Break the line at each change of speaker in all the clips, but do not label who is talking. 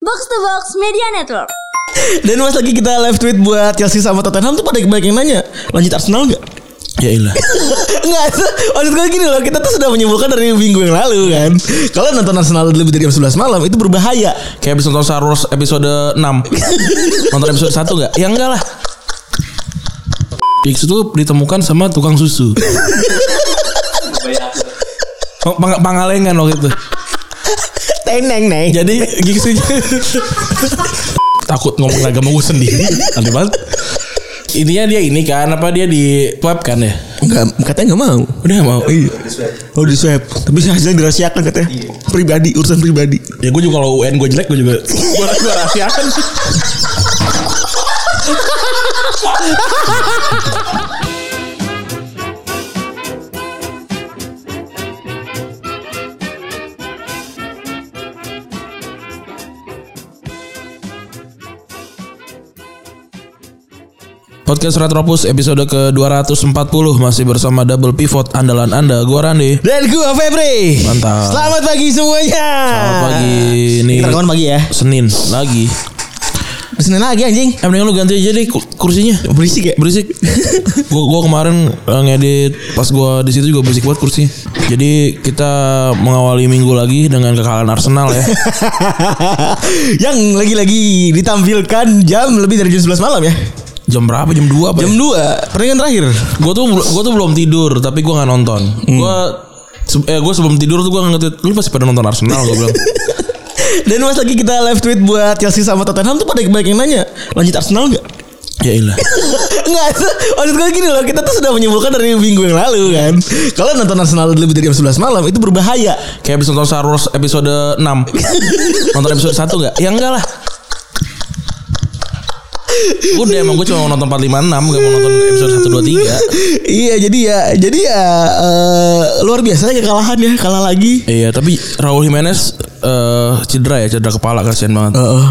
Box to Box Media Network.
Dan mas lagi kita live tweet buat Chelsea sama Tottenham tuh pada banyak yang nanya lanjut Arsenal nggak?
Ya ilah.
Enggak, maksud gue gini loh Kita tuh sudah menyimpulkan dari minggu yang lalu kan Kalau nonton Arsenal lebih dari jam 11 malam Itu berbahaya
Kayak habis nonton Star Wars episode 6 Nonton episode 1 gak? Ya enggak lah X itu ditemukan sama tukang susu Oh, pang pangalengan waktu itu
Neng neng neng
Jadi Giggs itu Takut ngomong agama gue sendiri Aneh banget Intinya dia ini kan Apa dia di web kan ya
Enggak, katanya nggak mau
Udah nggak mau Iya.
Oh di swab Tapi hasilnya dirahasiakan katanya Pribadi, urusan pribadi
Ya gue juga kalau UN gue jelek gue juga Gue gue rahasiakan Podcast Retropus episode ke-240 Masih bersama Double Pivot Andalan Anda Gue Randy
Dan gua Febri
Mantap.
Selamat pagi semuanya
Selamat pagi Ini
Kita rekaman pagi ya
Senin Lagi
Senin lagi anjing
Eh mendingan lu ganti aja deh ku- kursinya
Berisik ya
Berisik Gue gua kemarin eh, ngedit Pas gua di situ juga berisik banget kursinya Jadi kita mengawali minggu lagi Dengan kekalahan Arsenal ya
Yang lagi-lagi ditampilkan jam lebih dari jam 11 malam ya
Jam berapa? Jam 2 apa
Jam 2 Pertandingan terakhir
Gue tuh, bel- gua tuh belum tidur Tapi gua gak nonton
Hmm.
Gua se- eh, gua sebelum tidur tuh gue nge-tweet Lu pasti pada nonton Arsenal Gue bilang
Dan mas lagi kita live tweet buat Chelsea sama Tottenham tuh pada banyak yang nanya Lanjut Arsenal nggak?
Ya ilah
Enggak, maksud gue gini loh Kita tuh sudah menyimpulkan dari minggu yang lalu kan Kalau nonton Arsenal lebih dari jam 11 malam Itu berbahaya
Kayak habis nonton Star Wars episode 6 Nonton episode 1 gak? Ya enggak lah Udah emang gue cuma mau nonton 456 Gak mau nonton episode 123
Iya jadi ya Jadi ya eh, Luar biasa kekalahan ya Kalah lagi
Iya tapi Raul Jimenez eh, cedera ya cedera kepala kasihan banget.
Heeh.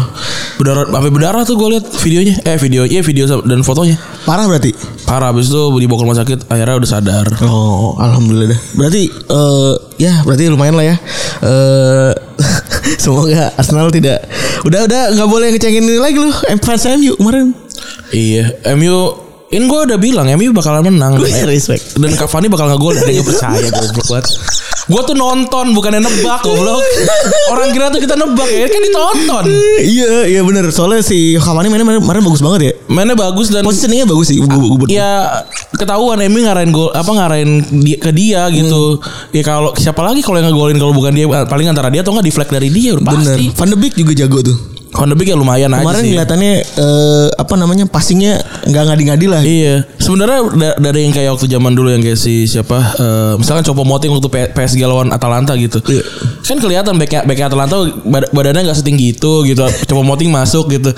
Berdarah sampai berdarah tuh gue lihat videonya. Eh video iya video sa- dan fotonya.
Parah berarti
Parah abis itu dibawa ke rumah sakit akhirnya udah sadar.
Oh Alhamdulillah dah Berarti eh, Ya berarti lumayan lah ya Eh, Semoga Arsenal tidak Udah udah nggak boleh ngecengin ini lagi lu Em, Fans MU kemarin
Iya MU In gue udah bilang MU bakalan menang
Gue respect
Dan Cavani bakal ngegol Dia gak percaya goblok banget Gue tuh nonton bukannya nebak goblok Orang kira tuh kita nebak ya kan ditonton
Iya iya bener Soalnya si Cavani mainnya mainnya- kemarin bagus banget ya
Mainnya bagus dan
Positioningnya bagus sih gue- gue- gue-
ya ketahuan Emi ngarahin gol apa ngarahin dia, ke dia gitu. Ya kalau siapa lagi kalau yang ngegolin kalau bukan dia paling antara dia atau enggak deflect dari dia udah
Bener.
pasti.
Van de Beek juga jago tuh.
Van de Beek ya lumayan
Kemarin
aja sih.
kelihatannya eh, apa namanya passingnya nggak ngadi-ngadi lah.
Iya, sebenarnya da- dari yang kayak waktu zaman dulu yang kayak si siapa, eh, misalkan Copo Moting waktu P- PSG lawan Atalanta gitu,
Iya.
kan kelihatan backnya backnya Atalanta bad- badannya nggak setinggi itu gitu, Copo Moting masuk gitu,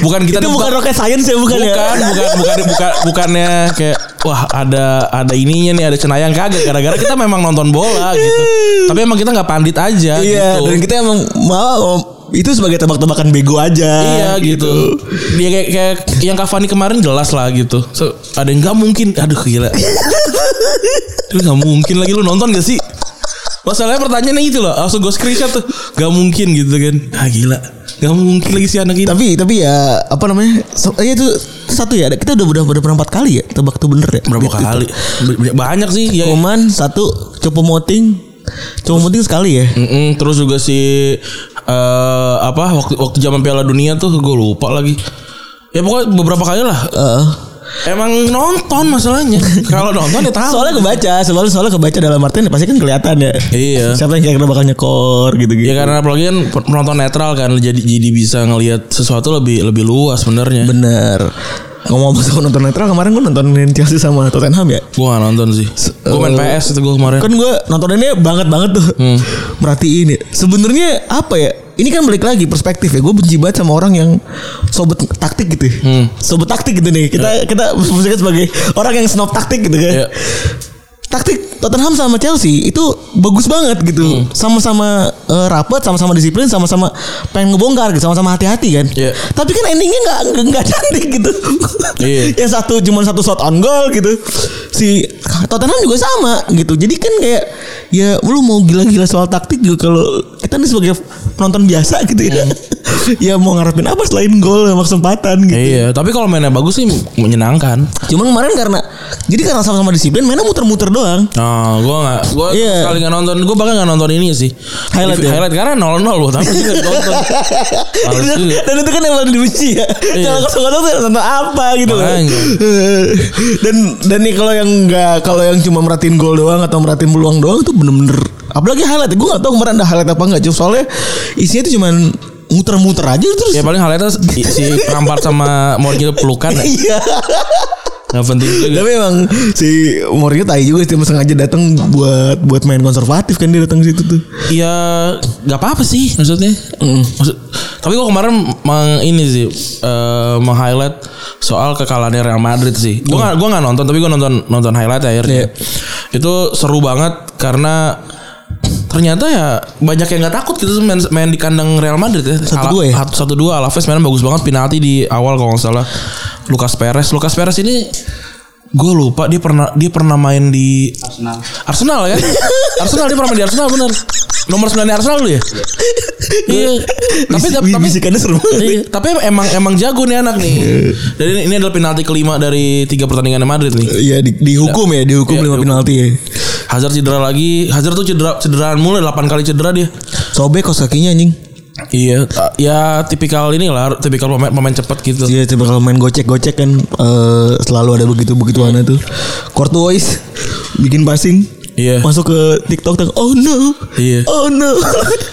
bukan kita
Itu
nebak-
bukan rocket science ya bukan,
bukan
ya?
bukan bukan bukan bukannya kayak wah ada ada ininya nih ada cenayang kagak gara-gara kita memang nonton bola gitu tapi emang kita nggak pandit aja
Iya.
gitu
Dan kita emang mau itu sebagai tebak-tebakan bego aja.
Iya gitu. Dia kayak, kayak yang Cavani kemarin jelas lah gitu. So, ada yang nggak mungkin. Aduh gila. Lu nggak mungkin lagi lu nonton gak sih? Masalahnya pertanyaannya itu loh. Langsung gue screenshot tuh. Gak mungkin gitu kan. Ah gila. Gak mungkin lagi si anak ini.
Tapi tapi ya apa namanya? So, eh, itu satu ya. Kita udah udah udah pernah empat kali ya tebak tuh bener ya.
Berapa kali? B- Banyak sih. Ya,
Koman satu copo moting. Copo moting sekali ya.
Mm-mm, terus juga si eh apa waktu waktu zaman Piala Dunia tuh gue lupa lagi. Ya pokoknya beberapa kali lah.
Heeh.
Emang nonton masalahnya. Kalau nonton ya tahu.
Soalnya kebaca, soalnya soalnya kebaca dalam artian pasti kan kelihatan ya.
Iya.
Siapa yang kira-kira bakal nyekor gitu-gitu.
Ya karena apalagi kan penonton netral kan jadi jadi bisa ngelihat sesuatu lebih lebih luas sebenarnya.
Bener. Ngomong soal nonton netral kemarin gue nontonin Chelsea sama Tottenham ya.
Gua gak nonton sih. Gua main
eh,
PS itu gua kemarin. Hmm.
Kan gue nontoninnya banget banget tuh. Merhatiin ya. Sebenarnya apa ya? Ini kan balik lagi perspektif ya. Gue benci banget sama orang yang sobat taktik gitu. ya.
Hmm.
Sobat taktik gitu nih. Kita kita maksudnya sebagai orang yang snob taktik gitu kan.
Ya.
Taktik Tottenham sama Chelsea itu bagus banget
Hmm.
gitu. Sama-sama eh, rapat, sama-sama disiplin, sama-sama pengen ngebongkar gitu, sama-sama hati-hati kan.
Iya.
Tapi kan endingnya nggak nggak- nggak cantik gitu. Ya
Iya.
yang satu cuma satu shot on goal gitu. Si Tottenham juga sama gitu. Jadi kan kayak ya lu mau gila-gila soal taktik juga kalau kita nih sebagai penonton biasa gitu ya. ya mau ngarepin apa selain gol sama kesempatan gitu.
Iya, tapi kalau mainnya bagus sih menyenangkan.
Cuman kemarin karena jadi karena sama-sama disiplin mainnya muter-muter doang.
Nah, gua nggak, gua
Iya.
sekali nggak nonton, gua bahkan nggak nonton ini sih.
Highlight ya?
highlight karena nol nol gua tapi nggak nonton. Males
Itu-
juga.
dan itu kan yang paling dibenci ya. Kalau kosong kosong tuh tentang apa gitu kan.
Iya. Makanya.
dan dan nih kalau yang nggak kalau yang cuma merhatiin gol doang atau merhatiin peluang doang itu bener-bener apalagi highlight gue gak tahu kemarin ada highlight apa nggak cuma soalnya isinya tuh cuman muter-muter aja terus
Ya paling highlightnya si- si Lampard sama Mourinho pelukan. ya.
iya
Nggak penting juga.
tapi emang si Mourinho tai juga sih emang sengaja datang buat buat main konservatif kan dia datang situ tuh
Iya, nggak apa-apa sih maksudnya. Maksud- tapi gua kemarin meng ini sih eh meng-highlight soal kekalahannya Real Madrid sih. Gua nggak gua nggak nonton tapi gua nonton nonton highlight
Iya.
akhirnya. Itu seru banget karena ternyata ya banyak yang nggak takut gitu main, main di kandang Real Madrid ya.
Satu dua ya?
Ala- satu dua Alaves mainnya bagus banget penalti di awal kalau nggak salah. Lucas Perez, Lucas Perez ini gue lupa dia pernah dia pernah main di Arsenal ya. Arsenal dia pernah main di Arsenal bener. Nomor 9 di Arsenal dulu ya. Iya. Tapi tapi
Bisik- bisikannya seru banget
iya. tapi emang emang jago nih anak nih.
Iya.
Jadi ini- ini adalah penalti kelima dari tiga pertandingan Madrid nih.
Iya di, dihukum ya dihukum
Iya,
lima penalti ya.
Hazard cedera lagi. Hazard tuh cedera cederaan mulu 8 kali cedera dia.
Sobek kos kakinya anjing.
Iya, ta- ya tipikal inilah tipikal pemain pemain cepat gitu.
Iya coba kalau main gocek-gocek kan eh, selalu ada begitu begituannya tuh. Courtois bikin passing.
Iya.
Masuk ke TikTok tuh, oh no.
Iya.
Oh no. oh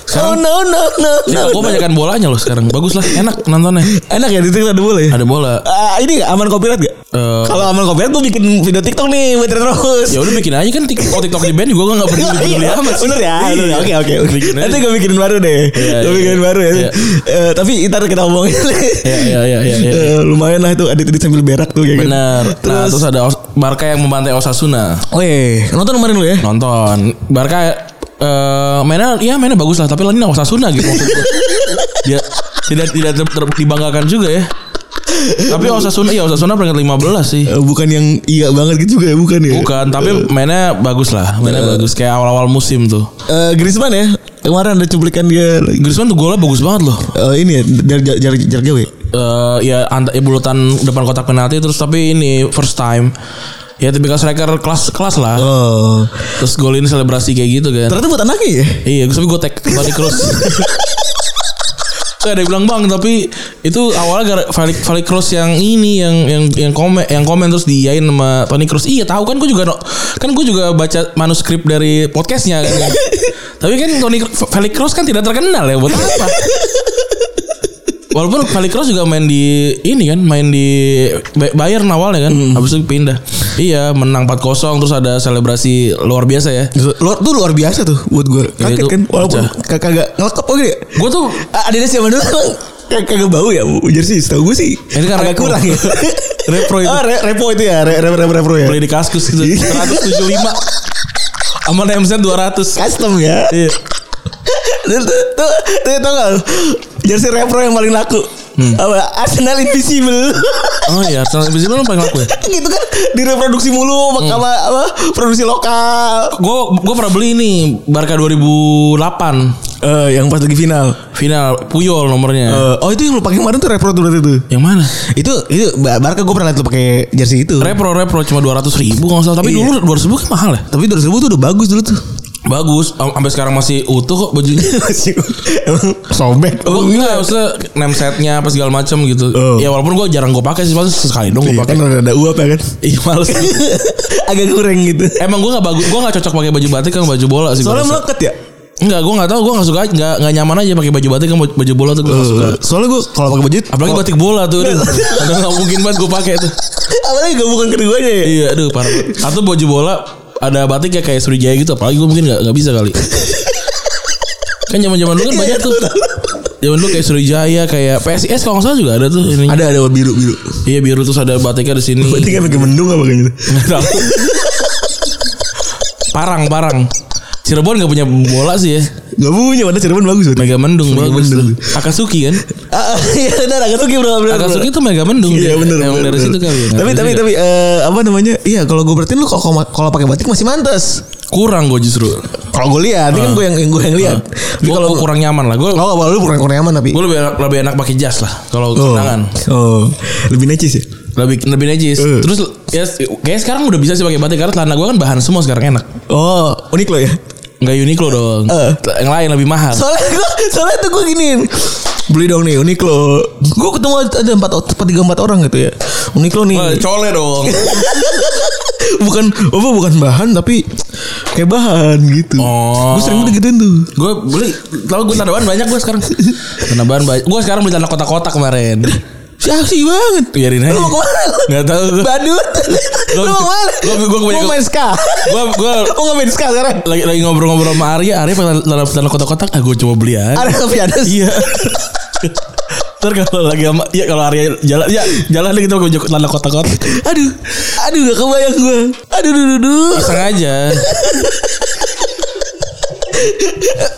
Sekarang- Iya,
no no no. no,
Gue
no.
banyakkan bolanya loh sekarang. Bagus lah, enak nontonnya.
Enak ya di TikTok ada bola ya?
Ada bola.
Ah, ini gak aman copyright gak?
Eh.
kalau aman copyright gue bikin video TikTok nih buat terus.
Ya udah bikin aja kan TikTok oh, TikTok di band juga gak peduli
Iya,
peduli amat sih.
bener ya, bener ya. Oke oke oke.
Iya, Bikin aja.
Nanti gue bikinin baru deh.
Iya,
gue
iya,
bikinin
iya.
baru ya.
Iya.
Eh, tapi ntar kita ngomongin.
Iya iya iya iya. iya.
Eh, lumayan lah itu edit-edit sambil berak tuh kayak gitu.
Bener. Nah, terus ada Os- Barca yang membantai Osasuna.
Oh iya, nonton kemarin lu ya?
Nonton. Barca eh mainnya ya mainnya bagus lah tapi lainnya Osasuna gitu maksud gue. Dia tidak tidak ter- ter- dibanggakan juga ya. Tapi Osasuna ya Osasuna peringkat 15 sih.
Eh, Bukan yang iya banget gitu juga ya, bukan ya?
Bukan, tapi mainnya bagus lah. Mainnya bagus kayak awal-awal musim tuh.
Eh, Griezmann ya, kemarin ada cuplikan dia lagi-
Griezmann tuh golnya bagus banget loh.
eh, ini ya, dari jarak jarak jarak jauh ya?
eh ya anta, ya bulutan depan kotak penalti terus tapi ini first time ya tipikal striker kelas kelas lah
Oh.
terus golin selebrasi kayak gitu kan
Ternyata buat anaknya ya?
iya tapi gue tag Toni Kroos Saya ada yang bilang bang tapi itu awalnya gara Vali, Vali Kroos yang ini yang yang yang komen yang komen terus diiyain sama Toni Kroos. Iya tahu kan gue juga no- kan gue juga baca manuskrip dari podcastnya kan. tapi kan Toni Vali Kroos kan tidak terkenal ya buat apa? Walaupun Vali Kroos juga main di ini kan, main di Bay- Bayern awalnya kan, habis itu pindah. Iya, menang 4-0 terus ada selebrasi luar biasa ya.
Luar, tuh luar biasa tuh buat gue. Kaget
Iya, itu
kan, walaupun
pecah.
kag- kagak ngelekep kok gitu ya?
Gue tuh
Ah, Adidas zaman dulu emang kag- kagak bau ya bu jersey setahu gue sih
Ini kan
agak
repro.
kurang ya
Repro itu.
ah, re- repro itu ya re- re- re- repro ya
beli di kaskus gitu 175 sama namesnya 200
custom ya
iya
Dan tuh, tuh, tuh, tau gak lu? Jersey repro yang paling laku
Hmm.
Apa? Arsenal Invisible
oh iya Arsenal Invisible paling laku ya
Gitu kan Direproduksi mulu
Hmm.
sama, sama, apa, Produksi lokal
gue gue pernah beli ini Barca 2008
Eh, Yang pas lagi final
final Puyol nomornya
Eh, Oh itu yang lu pakai kemarin tuh repro tuh berarti tuh
yang mana
Itu itu Bar- Barca gue pernah liat lu pakai jersey itu
repro repro cuma 200 ribu kalau nggak salah tapi
Iya.
dulu 200 ribu kan mahal ya
Tapi 200 ribu tuh udah bagus dulu tuh
bagus am- sampai sekarang masih utuh kok bajunya
Emang sobek
Oh, enggak, maksudnya name setnya apa segala macam gitu.
Oh.
Ya walaupun gue jarang gue pakai sih, paling sekali dong gue
Iya,
pakai.
kan udah ada uap ya kan
Iya males.
Agak kurang gitu
Emang gue nggak bagus, gue nggak cocok pakai baju batik sama baju bola sih. gua
Soalnya
rasa.
meleket ya
Enggak, gue gak tau, gue gak suka, gak, gak nyaman aja pakai baju batik sama baju bola tuh gue gak suka.
Eh, Soalnya gue kalau pakai baju
Apalagi batik bola tuh, aduh, aduh gak mungkin banget gue pakai tuh.
Apalagi gabungan keduanya ya
Iya, aduh parah. banget. Atau baju bola ada batik ya kayak Sriwijaya gitu, apalagi gue mungkin gak, gak bisa kali. Kan zaman zaman dulu kan banyak tuh. Zaman dulu kayak Sriwijaya, kayak PSIS kalau nggak salah juga ada tuh. Ini.
Ada ada biru biru.
Iya biru terus ada batiknya di sini.
Berarti kan pakai mendung apa kayaknya?
Nggak tahu. parang, parang. Cirebon gak punya bola sih ya.
Gak punya, padahal Cirebon bagus. Mega.
Megamendung bagus tuh.
Megamendung.
Akatsuki kan.
Iya benar, Akatsuki bro. benar, benar.
Akatsuki itu Megamendung
Iya
dia.
benar.
Emang
benar,
dari
benar.
situ kali ya.
Tapi
Nggak
tapi
tahu
tapi eh, apa namanya? Iya kalau gue berarti lu kalau kalau pakai batik masih mantas.
juga. kurang gue justru.
Kalau gue lihat, ini kan gue yang, yang gue yang lihat. Tapi
Gue
kalau
kurang nyaman lah. Gue
Oh, kalau lu kurang kurang nyaman tapi.
gue lebih enak, lebih enak pakai jas lah kalau
Oh.
kenangan.
Oh, lebih necis ya.
Lebih lebih najis.
Eh.
Terus ya kayak sekarang udah bisa sih pakai batik karena celana gue kan bahan semua sekarang enak.
Oh, unik lo ya.
Enggak Uniqlo dong.
Eh.
Yang lain lebih mahal.
Soalnya gue, soalnya tuh gue giniin. Beli dong nih Uniqlo. Gue ketemu ada empat, empat tiga empat orang gitu ya. Uniqlo nih.
Eh, Cole dong.
bukan apa bukan bahan tapi kayak bahan gitu.
Oh.
Gue sering udah gituin tuh.
gue beli tau gue tanda bahan banyak gue sekarang tanda bahan banyak gue sekarang beli tanda kotak-kotak kemarin
Saksi banget.
biarin aja
Lu mau kemana? lu?
nggak tahu gue
Badut. Lu mau kemana?
Gua- gua- gua kebanyakan-
mau main ska.
gue gue
Mau nggak main ska sekarang?
lagi lagi ngobrol-ngobrol sama Arya Arya pakai tanda tanda kotak-kotak ah gue coba beli aja
Ada kopi ada.
iya ntar kalau lagi sama ya kalau Arya jalan ya jalan deh kita pakai baju tanda kotak-kotak
Aduh, aduh gak kebayang gue. Aduh, duh, duh, duh.
iseng aja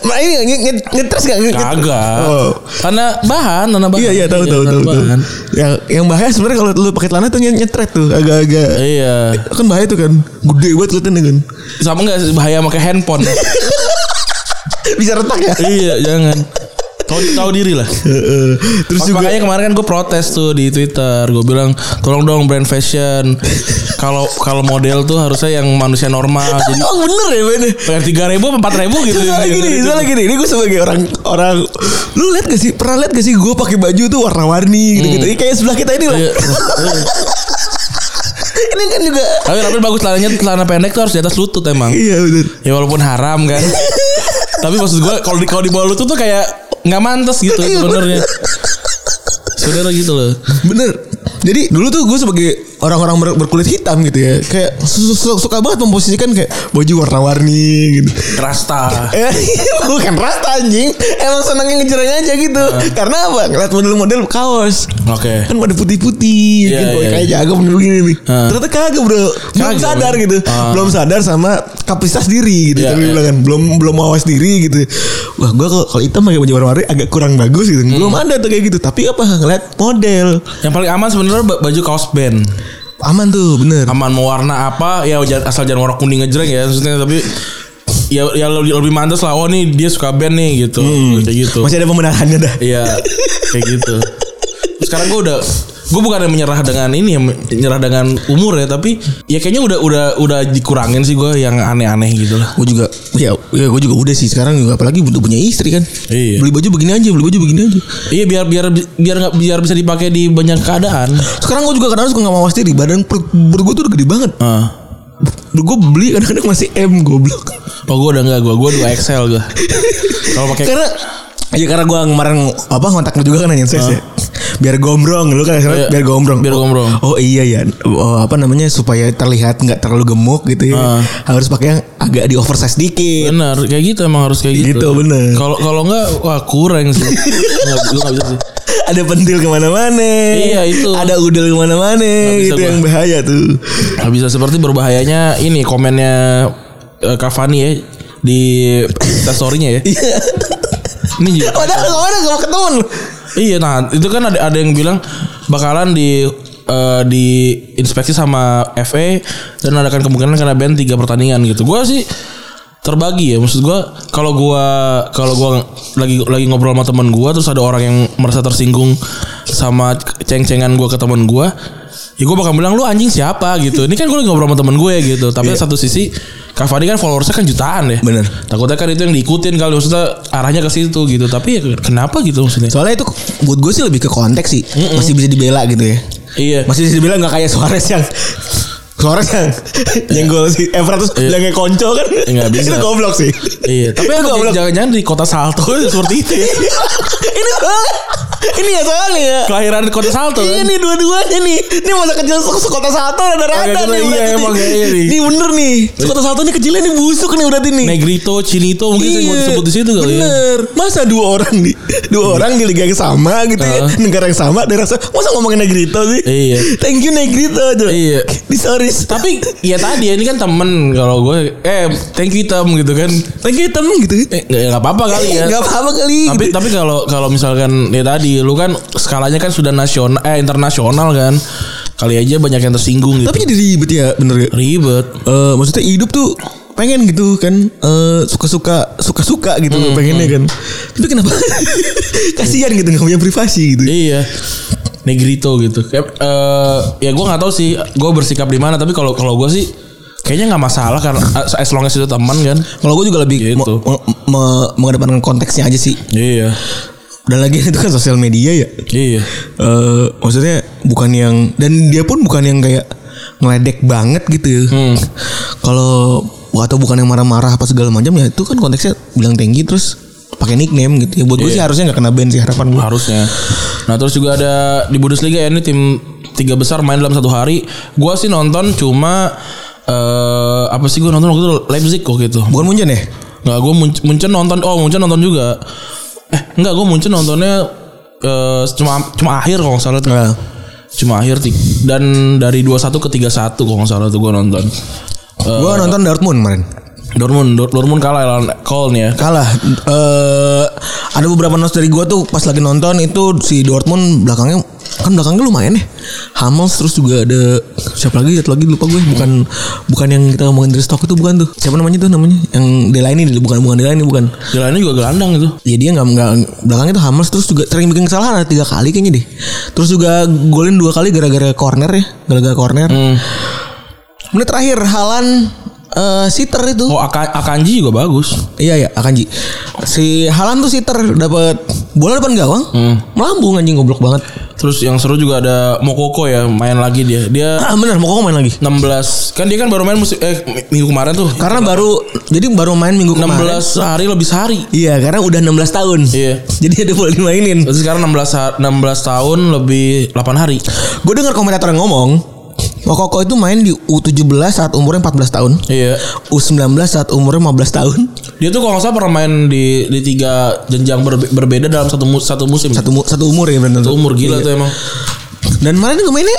Nah ini nge- nge- ngetres gak? Nge-
kagak
Oh.
karena bahan tanda bahan
Iya iya tahu tahu
tanda
tahu tahu.
bahan.
Yang yang bahaya sebenarnya kalau lu pakai celana tuh nyet- nyetret tuh agak-agak
iya
kan bahaya tuh kan. Gede banget kelihatannya kan.
sama nggak bahaya pakai handphone
Bisa retak ya.
iya jangan tahu tahu diri lah
Heeh. Terus
Terus
juga
makanya kemarin kan gue protes tuh di Twitter. Gue bilang tolong dong brand fashion. Kalau kalau model tuh harusnya yang manusia normal. Jadi
Oh bener ya bener.
bayar tiga ribu, empat ribu gitu.
Soalnya gini, soalnya gini, ini gue sebagai orang orang, lu lihat gak sih, pernah lihat gak sih gue pakai baju tuh warna-warni gitu gitu, ini kayak sebelah kita ini lah.
Iya.
ini kan juga,
Tapi tapi bagus celananya celana pendek tuh harus di atas lutut emang.
iya bener.
Ya walaupun haram kan. tapi maksud gue kalau di kalau di bawah lutut tuh kayak nggak mantas gitu
Iya,
sebenarnya. Saudara gitu loh.
Bener. Jadi dulu tuh gue sebagai orang-orang ber- berkulit hitam gitu ya, kayak su- su- suka banget memposisikan kayak baju warna-warni gitu.
Rasta.
Eh, bukan rata anjing, emang senangnya ngejerang aja gitu.
Ah.
Karena apa? Ngeliat model-model kaos.
Oke.
kan pada putih-putih
Iya,
kan
iya,
kayak
iya.
jago bener gini nih
Ah.
ternyata kagak bro belum
Kagak,
sadar
bro.
gitu
Ah.
belum sadar sama kapasitas diri gitu
Iya,
Tadi
iya.
bilang kan belum belum awas diri gitu wah gue kalau kalau hitam pakai baju warna-warni agak kurang bagus gitu
Hmm.
belum ada tuh kayak gitu tapi apa ngeliat model
Yang paling aman sebenarnya ba- baju kaos band.
aman tuh bener
aman mau warna apa ya jangan- asal jangan warna kuning ngejreng ya maksudnya tapi ya ya lebih, lebih mantas lah oh nih dia suka band nih gitu kayak gitu
masih ada pembenarannya dah
iya kayak gitu Terus sekarang gue udah gue bukan yang menyerah dengan ini yang menyerah dengan umur ya tapi ya kayaknya udah udah udah dikurangin sih gue yang aneh-aneh gitu lah
gue juga ya, ya gue juga udah sih sekarang juga apalagi butuh punya istri kan
Iya.
beli baju begini aja beli baju begini aja
iya biar biar biar nggak biar bisa dipakai di banyak keadaan
sekarang gue juga kadang suka nggak mawas diri badan perut perut gue tuh udah gede banget
Ah.
gue beli kadang-kadang masih M goblok
oh gue udah nggak gue gue dua XL gue kalau pakai
karena ya karena gue kemarin apa kontak lu juga kan nanyain size ya biar gombrong lu kan
Ah. Iya.
akhirnya biar gombrong
Biar gombrong.
oh, oh iya ya oh, apa namanya supaya terlihat nggak terlalu gemuk gitu ya
Ah.
harus pakai yang agak di oversize dikit
Benar, kayak gitu emang harus kayak gitu.
Kan- Gitu, bener.
Kalau kalau enggak wah kurang sih. Enggak enggak bisa sih.
ada pentil kemana-mana
Iya, itu.
ada udel kemana-mana
bisa
itu
gua.
yang bahaya tuh
Nggak bisa seperti berbahayanya ini komennya eh, Cavani ya di story-nya ya.
Iya.
Ini juga.
padahal kemarin sama ketemu lu.
Iya, nah itu kan ada ada yang bilang bakalan di eh, di inspeksi sama FA dan ada kan kemungkinan kena ban tiga pertandingan gitu. Gua sih terbagi ya maksud gua kalau gua kalau gua lagi lagi ngobrol sama teman gua terus ada orang yang merasa tersinggung sama ceng-cengan gua ke teman gua ya gua bakal bilang lu anjing siapa gitu ini kan gua lagi ngobrol sama temen gue gitu tapi satu sisi Cavani kan followersnya kan jutaan ya
Bener.
takutnya kan itu yang diikutin kali maksudnya arahnya ke situ gitu tapi ya kenapa gitu maksudnya
soalnya itu buat gue sih lebih ke konteks sih masih bisa dibela gitu ya
Iya.
Masih bisa dibilang gak kayak Suarez yang Suarez yang yang gol si Evra terus
Iya.
bilang kayak konco kan.
Nggak bisa.
Itu goblok sih.
Iya, tapi
itu
emang
goblok.
jangan-jangan di kota Salto seperti itu. ya.
ini soalnya ini ya soalnya ya.
Kelahiran di kota Salto.
Iya
kan?
nih dua-duanya nih. Ini masa kecil se sekota satu ada rada nih.
Agak-agak iya,
berarti
emang
nih.
kayaknya nih.
Ini bener nih. Sekota satu nih kecilnya nih busuk nih berarti nih.
Negrito, Chinito mungkin saya mau disebut di situ kali ya.
Iya.
Iya.
Bener. Masa dua orang nih, dua orang di liga yang sama gitu ya,
Heeh.
negara yang sama, daerah sama. Masa ngomongin Negrito sih?
Iya.
Thank you Negrito aja.
Iya.
Di stories.
Tapi ya tadi ya, ini kan temen kalau gue eh thank you Tam gitu kan.
thank you temen gitu.
Eh, nggak nggak apa-apa kali ya.
Gak apa-apa kali.
tapi
gitu.
tapi kalau kalau misalkan ya tadi lu kan skalanya kan sudah nasional eh internasional kan. Kali aja banyak yang tersinggung gitu.
Tapi jadi ribet ya bener gak?
ribet.
Eh maksudnya hidup tuh pengen gitu kan eh, suka-suka suka-suka gitu pengennya kan tapi kenapa kasihan gitu nggak punya privasi gitu
Iya. Negrito gitu. Kayak, eh, ya gue nggak tahu sih gue bersikap di mana tapi kalau kalau gue sih kayaknya nggak masalah karena eh, as long as itu teman kan.
kalau gue juga lebih
Gitu.
me- me- me- mengedepankan konteksnya aja sih
Iya.
dan lagi itu kan sosial media ya
Iya.
Eh, maksudnya bukan yang dan dia pun bukan yang kayak ngeledek banget gitu kalau atau bukan yang marah-marah apa segala macam ya itu kan konteksnya bilang tinggi terus pakai nickname gitu ya buat gue sih harusnya nggak kena ban sih harapan gue
harusnya. Nah terus juga ada di Bundesliga ya ini tim tiga besar main dalam satu hari. Gua sih nonton cuma eh apa sih gua nonton waktu itu Leipzig kok gitu.
bukan Munchen ya
Nggak gue Munchen nonton oh Munchen nonton juga. Eh nggak gue Munchen nontonnya eh cuma cuma akhir kalau nggak salah tuh.
Nah,
Cuma akhir ti- dan dari 21 ke 31 kalau nggak salah tuh gua nonton. Eh,
gue nonton Dortmund kemarin
Dortmund Dort- Dortmund kalah lawan Köln ya.
kalah eh ada beberapa notes dari gue tuh pas lagi nonton itu si Dortmund belakangnya kan belakangnya lumayan ya Hamels terus juga ada siapa lagi satu lagi lupa gue bukan bukan yang kita ngomongin dari stok itu bukan tuh siapa namanya tuh namanya yang Delaney bukan bukan Delaney bukan
Jalannya juga gelandang itu.
ya dia nggak nggak belakangnya tuh Hamels terus juga sering bikin kesalahan ada tiga kali kayaknya deh terus juga golin dua kali gara-gara corner ya gara-gara corner
Hmm.
menit terakhir Halan eh sitter itu
Oh Aka- Akanji juga bagus.
Iya ya Akanji. Si Halan tuh sitter dapat bola depan gawang,
Hmm.
melambung anjing goblok banget.
Terus yang seru juga ada Mokoko ya main lagi dia. Dia
Ah benar, mau kok main lagi.
16 kan dia kan baru main musim eh minggu kemarin tuh.
Karena baru jadi baru main minggu kemarin.
16 hari lebih sehari.
Iya, karena udah 16 tahun.
Iya.
Jadi ada bola dimainin.
Terus sekarang 16 ha- 16 tahun lebih 8 hari.
Gue dengar komentator yang ngomong, Mokoko itu main di U17 saat umurnya 14 tahun.
Iya.
U19 saat umurnya 15 tahun.
Dia tuh kalau nggak salah pernah main di di tiga jenjang berbe- berbeda dalam satu mu- satu musim.
Satu mu- satu umur ya benar.
Satu umur gila tuh emang.
Dan kemarin juga mainnya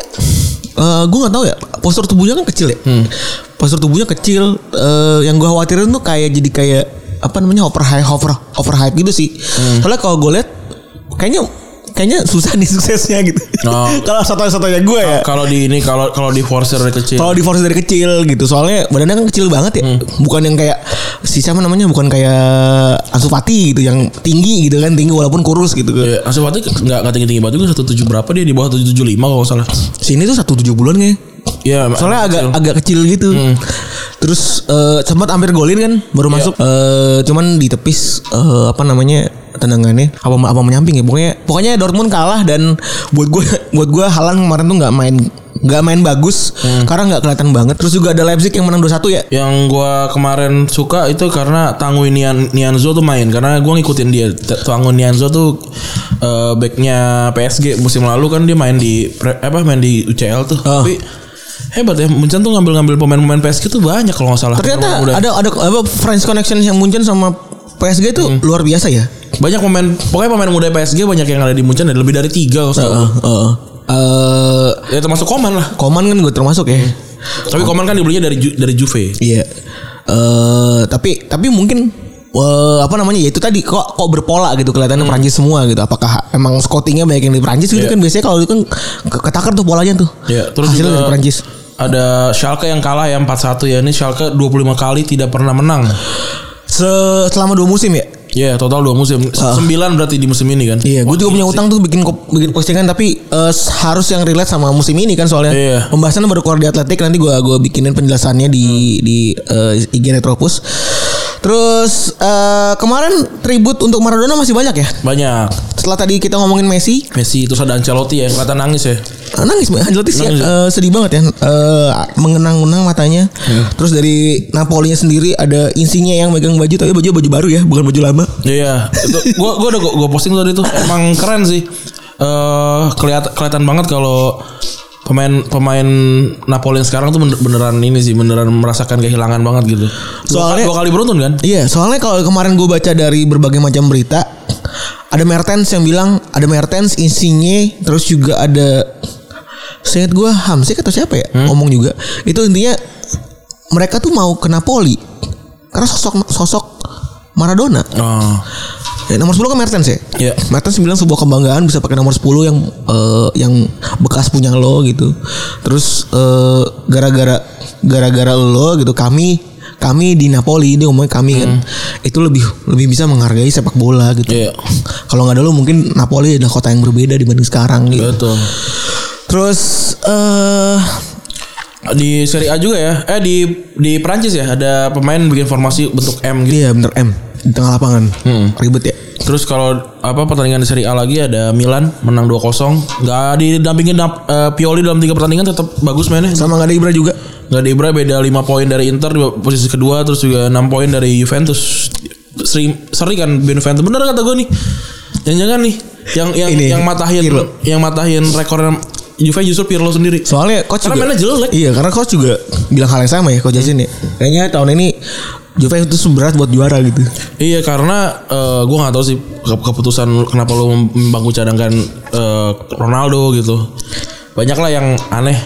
eh gue nggak tahu ya postur tubuhnya kan kecil ya.
Hmm.
Postur tubuhnya kecil. eh, yang gue khawatirin tuh kayak jadi kayak apa namanya over high over over hype gitu sih.
Hmm.
Soalnya kalau gue lihat kayaknya kayaknya susah nih suksesnya gitu.
Oh.
kalau satu-satunya gue ya.
Kalau di ini kalau kalau di forcer dari kecil.
Kalau di force dari kecil gitu. Soalnya badannya kan kecil banget
Hmm.
ya. Bukan yang kayak si siapa namanya bukan kayak Ansu Fati gitu yang tinggi gitu kan tinggi walaupun kurus gitu.
Iya, Asif Fatih nggak nggak tinggi tinggi banget juga 175 berapa dia di bawah 175 kalau nggak salah.
Sini tuh 170 bulan kayaknya.
Iya,
soalnya agak agak kecil gitu terus eh, sempat hampir golin kan baru masuk Eh, cuman ditepis eh, apa namanya tendangannya apa apa menyamping ya pokoknya pokoknya Dortmund kalah dan buat gue buat gue Halan kemarin tuh nggak main nggak main bagus karena nggak kelihatan banget terus juga ada Leipzig yang menang 2-1 ya
yang gua kemarin suka itu karena Tanguy Nian Nianzo tuh main karena gua ngikutin dia T- Tanguy Nianzo tuh eh, backnya PSG musim lalu kan dia main di pre- apa main di UCL tuh
Oh.
tapi hebat ya Munchen tuh ngambil-ngambil pemain-pemain PSG tuh banyak kalau nggak salah
ternyata
Udah.
ada ada apa French connection yang muncul sama PSG itu luar biasa ya
banyak pemain pokoknya pemain muda PSG banyak yang ada di Munchen ada lebih dari tiga kalau nggak salah.
Heeh, heeh. Eh,
ya termasuk Koman lah
Koman kan gue termasuk ya
tapi Koman kan dibelinya dari Ju- dari Juve
Iya. Eh tapi tapi mungkin eh, apa namanya ya itu tadi kok kok berpola gitu kelihatannya Perancis semua gitu. Apakah emang scoutingnya banyak yang di Perancis gitu
Iya.
kan biasanya kalau itu kan ke- ketakar tuh polanya tuh.
Ya, terus
Hasilnya
juga
dari Perancis.
ada Schalke yang kalah ya 4-1 ya ini Schalke 25 kali tidak pernah menang
Se- selama dua musim ya.
Ya total dua musim Se- Sembilan berarti di musim ini kan
Ah. Iya, gue
Wah,
juga punya
gila sih.
utang tuh bikin ko- bikin postingan tapi eh, harus yang relate sama musim ini kan soalnya
Iya.
pembahasannya baru keluar di Atletik nanti gue gua bikinin penjelasannya di di eh, IG Retropus. Terus eh, kemarin tribut untuk Maradona masih banyak ya.
Banyak
Setelah tadi kita ngomongin Messi, eh,
Messi terus ada Ancelotti ya yang Kelihatan nangis ya
nangis Mbak. Ancelotti sih
Nangis, ya?
eh, sedih banget ya Eh, mengenang-enang matanya terus dari Napolinya sendiri ada insinya yang megang baju tapi baju baju baru ya bukan baju lama
Iya iya Itu, Gua gua udah gua, gua posting tadi tuh Emang keren sih Eh keliat, Kelihatan banget kalau Pemain pemain Napoli yang sekarang tuh bener- beneran ini sih Beneran merasakan kehilangan banget gitu Dua-
Soalnya-
Dua, kali beruntun kan
iya soalnya kalau kemarin gue baca dari berbagai macam berita ada Mertens yang bilang ada Mertens insinya terus juga ada Seingat gue Hamsik atau siapa ya ngomong juga itu intinya mereka tuh mau ke Napoli karena sosok sosok Maradona
Oh
Ya, nomor 10 kan Mertens ya?
Iya.
Mertens bilang sebuah kebanggaan bisa pakai nomor 10 yang eh, yang bekas punya lo gitu. Terus eh, gara-gara gara-gara lo gitu kami kami di Napoli dia ngomongnya kami kan itu lebih lebih bisa menghargai sepak bola gitu.
Hmm. Iya.
Kalau nggak ada lu mungkin Napoli adalah kota yang berbeda dibanding sekarang gitu.
Betul.
Terus eh
Di Serie A juga ya. Eh di di Prancis ya ada pemain bikin formasi bentuk M gitu.
dia iya bener M di tengah lapangan.
Hmm.
Ribet ya.
Terus kalau apa pertandingan di Serie A lagi ada Milan menang 2-0. Gak didampingin Nap- eh, Pioli dalam tiga pertandingan tetap bagus mainnya.
Sama nggak ada Ibra juga.
Gak ada Ibra beda 5 poin dari Inter di posisi kedua terus juga 6 poin dari Juventus. Seri, seri kan Juventus. Bener kata gue nih. Jangan-jangan nih yang yang
Ini,
yang matahin
Pirlo.
yang matahin rekor Juve justru Pirlo sendiri.
Soalnya coach
Karena
juga-
mainnya jelek.
Iya, karena coach juga bilang hal yang sama ya coach Jasin ya. Kayaknya tahun ini Juve itu berat buat juara gitu.
Iya karena eh, gua gue nggak tahu sih ke- keputusan kenapa lo membangku cadangkan eh, Ronaldo gitu. Banyak lah yang aneh.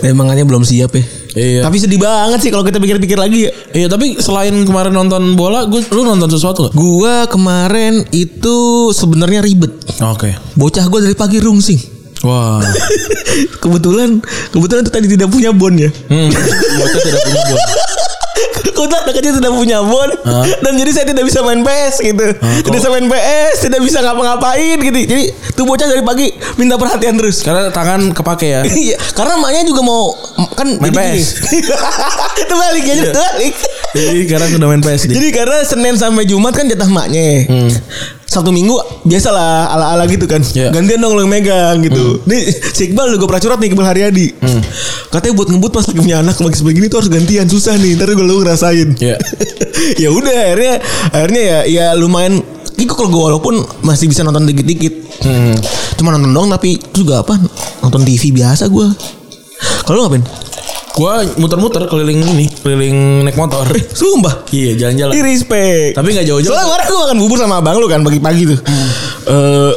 Emangnya belum siap ya.
Iya.
Tapi sedih banget sih kalau kita pikir-pikir lagi ya.
Iya tapi selain kemarin nonton bola, gue lu nonton sesuatu nggak?
Gua kemarin itu sebenarnya ribet.
Oke.
Bocah gua dari pagi rungsing.
Wah.
Kebetulan kebetulan tuh tadi tidak punya bon ya.
Hmm. Bocah tidak punya bola.
Kota dekatnya tidak punya bon dan jadi saya tidak bisa main PS gitu. tidak bisa main PS, tidak bisa ngapa-ngapain gitu. Jadi tuh bocah dari pagi minta perhatian terus.
Karena tangan kepake ya.
Iya, karena emaknya juga mau kan
Main
jadi
PS.
gini. Itu balik ya, itu balik.
Jadi sekarang udah main PS
Jadi karena Senin sampai Jumat kan jatah emaknya. Sabtu Minggu biasalah ala-ala gitu kan.
Iya.
Gantian dong lo yang megang gitu. Nih si Iqbal gue pracurat nih Iqbal Haryadi. Katanya buat ngebut pas lagi punya anak lagi sebegini tuh harus gantian susah nih. Ntar gue lo ngerasain.
Iya.
ya udah akhirnya akhirnya ya ya lumayan Iko kalau gue walaupun masih bisa nonton dikit-dikit.
Hmm.
Cuma nonton dong tapi juga apa? Nonton TV biasa gue. Kalau lu ngapain?
Gue muter-muter keliling ini, keliling naik motor.
Sumpah.
iya jalan-jalan.
Di respect.
Tapi nggak jauh-jauh.
Soalnya kemarin gue makan bubur sama abang lu kan pagi-pagi tuh. Eh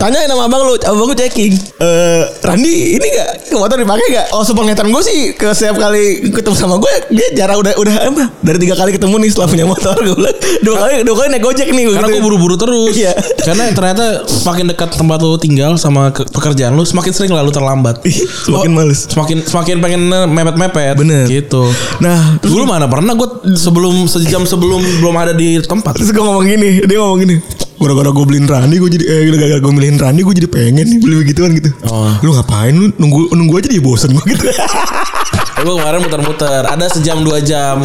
tanya sama abang lu, abang gue checking. Eh Randi ini gak motor dipakai gak? Oh sepenglihatan gue sih ke setiap kali ketemu sama gue dia jarang udah udah apa? Dari tiga kali ketemu nih setelah punya motor gue bilang dua kali dua kali naik gojek nih. gua gitu.
Karena gue
gituin.
buru-buru terus.
Iya.
Karena ternyata semakin dekat tempat lu tinggal sama ke- pekerjaan lu, semakin sering lalu terlambat.
semakin
Lo-
males.
Semakin semakin pengen mepet-mepet.
Iya. Bener.
Gitu.
Nah, terus
Dulu mana pernah gue sebelum sejam sebelum belum ada di tempat.
Terus gue ngomong gini Dia ngomong gini Gara-gara gue beliin Rani Gue jadi Eh gara-gara gue beliin Rani Gue jadi pengen nih Beli begituan gitu
Oh.
Lu ngapain Lu nunggu nunggu aja dia bosen gue gitu
Gue Eh, kemarin muter-muter. Ada sejam dua jam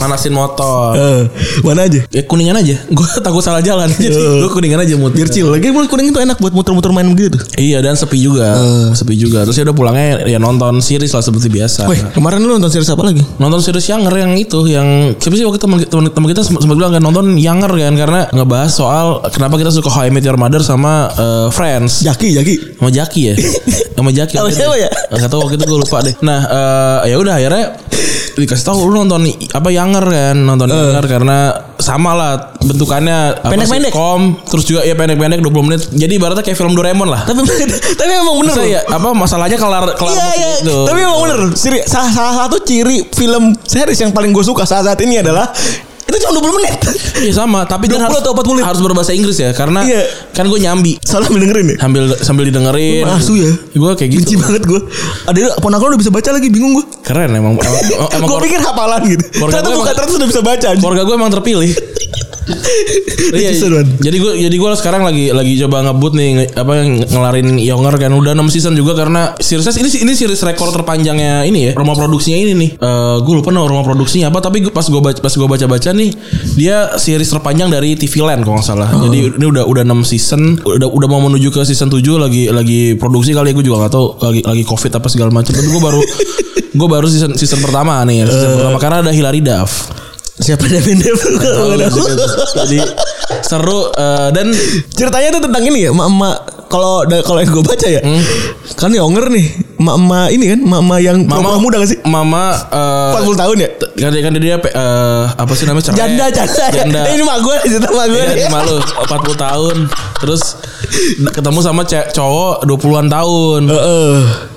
manasin motor.
Eh, Mana aja
Ya kuningan aja. Eh. Gue takut salah jalan. Jadi gue kuningan aja muter.
Biar chill Lagi mulut kuning itu enak Buat muter-muter main begitu tuh
Iya dan sepi juga, sepi juga. Terus ya udah pulangnya ya nonton series lah seperti biasa.
Weh kemarin lu nonton series apa lagi
nonton series Younger yang itu yang siapa sih waktu itu teman teman- teman kita sempat sempat bilang kan nonton Younger kan karena ngebahas soal kenapa kita suka How I Met Your Mother sama eh, Friends
Jaki Jaki
sama Jaki ya sama Jaki
Sama siapa ya?
Gak tau waktu itu gue lupa deh nah eh, ya udah akhirnya dikasih tahu lu nonton apa Younger kan nonton
Eh.
Younger karena sama lah bentukannya apa,
Pendek-pendek.
sitcom, terus juga ya pendek-pendek 20 menit jadi ibaratnya kayak film Doraemon lah
Tapi tapi emang bener
Maksudnya
loh.
ya apa masalahnya kelar kelar
Iya iya
gitu.
Tapi emang bener Siri, salah, salah satu ciri film series Yang paling gue suka saat saat ini adalah Itu cuma 20 menit
Iya sama, tapi dia
20
harus,
atau 40
harus berbahasa Inggris ya karena
Iya.
kan gue nyambi
Salah dengerin ya
sambil sambil didengerin.
Lu asu ya.
Gue kayak gitu.
Benci banget gue Ada ponakan udah bisa baca lagi Bingung gue
Keren emang. Emang, Oh, emang
gue
kor-
pikir hafalan gitu.
keluarga
Ternyata
gua
bukan
emang-
terus udah bisa baca. anjing.
keluarga gue emang terpilih. Iya,
Itu seruan.
jadi gue jadi gue sekarang lagi lagi coba ngebut nih nge- apa nge- ngelarin Younger kan udah 6 season juga karena series ini ini series rekor terpanjangnya ini ya rumah produksinya ini nih Eh gue lupa nama rumah produksinya apa tapi gua- pas gue baca pas gue baca baca nih dia series terpanjang dari TV Land kalau nggak salah jadi
Oh.
ini udah udah 6 season udah udah mau menuju ke season 7 lagi lagi produksi kali ya gue juga nggak tahu lagi lagi covid apa segala macam tapi gue baru gue baru season season pertama nih season
Eh.
pertama karena ada Hilary Duff
Siapa Devin Devil? Kalau nggak ada.
jadi seru eh, dan
Ceritanya tuh tentang ini ya, emak-emak kalau da- kalau yang gue baca ya.
Hmm.
Kan Yonger nih, emak-emak ini kan, emak-emak yang mama muda gak sih?
Mama eh
40 tahun ya?
kan dia kan dia pe- eh, apa sih namanya cerai. Iya,
Janda, janda.
Janda.
Eh, Ini mak gue, cerita mak gue.
Iya,
nih.
ini malu 40 tahun terus ketemu sama ce- cowok 20-an tahun
Heeh.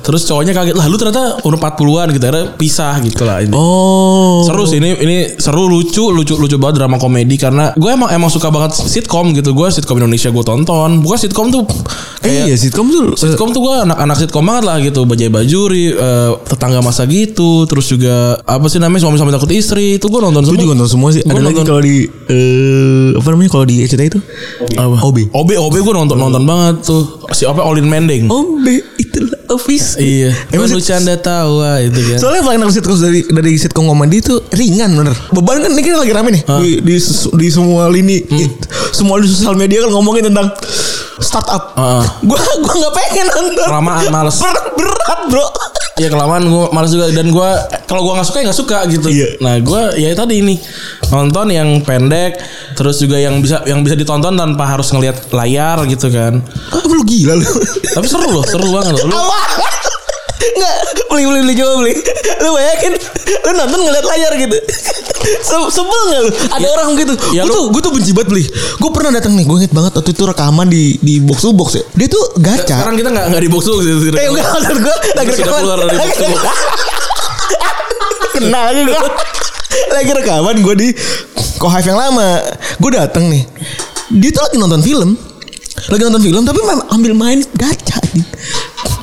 Terus cowoknya kaget lah lu ternyata umur 40-an gitu. Akhirnya pisah gitu lah. ini.
Oh.
Seru sih ini ini seru lucu lucu lucu banget drama komedi karena gue emang emang suka banget sitkom gitu gue sitkom Indonesia gue tonton bukan sitkom tuh
Eh, iya sitkom tuh.
sitkom tuh gue anak-anak sitkom banget lah gitu bajai bajuri eh, tetangga masa gitu terus juga apa sih namanya suami suami takut istri itu gue nonton
Gue
semua
juga nonton semua sih.
Gua
Ada lagi
nonton.
kalau di eh, apa namanya kalau di RCTI itu?
Apa?
OB.
OB OB gue nonton nonton banget tuh si apa Olin Mending
OB itulah office.
Oh, iya
Emang
emang lucu
sih-
anda tahu lah itu kan
Soalnya paling enak sitkom dari dari sitkom komedi itu ringan bener. Beban kan ini kan lagi rame nih di, di sus- di semua lini,
Hmm.
It- semua di sosial media kan ngomongin tentang startup.
Heeh.
Gua gua nggak pengen nonton.
Kelamaan, Ah. males.
Berat, berat bro.
Iya kelamaan gue malas juga dan gue kalau gue nggak suka ya nggak suka gitu.
Iya.
Nah gue ya tadi ini nonton yang pendek terus juga yang bisa yang bisa ditonton tanpa harus ngelihat layar gitu kan.
Ah, lu gila lu.
Tapi seru loh, seru banget loh. Lu-
Apa? Enggak, beli beli beli coba beli. Lu bayangin, lu nonton ngeliat layar gitu. Se- Sebel gak lu? Ada orang gitu.
ya
gue
lu-
tuh gue tuh benci banget beli. Gue pernah datang nih, gue inget banget waktu itu rekaman di di box to box ya. Dia tuh gacha.
Sekarang kita nggak nggak di box tuh gitu.
Eh enggak maksud gue lagi
Sudah
rekaman.
keluar dari box to box.
Kenal lagi gue. Lagi rekaman gue di Kohive yang lama. Gue dateng nih. Dia tuh lagi nonton film. Lagi nonton film tapi mem- ambil main gacha anjing.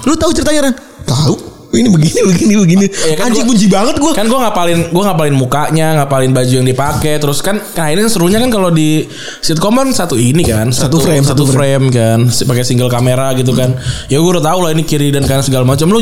Lu tahu ceritanya Ran? Tahu. Ini begini begini begini.
ya kan
anjing
gua-
benci banget gue.
Kan gue ngapalin gue ngapalin mukanya, ngapalin baju yang dipakai. Terus kan nah ini serunya kan kalau di sitcom kan satu ini kan
Satu frame,
satu,
satu
frame, kan Si- pakai single kamera gitu kan. Ya gue udah tahu lah ini kiri dan kanan segala macam. Lu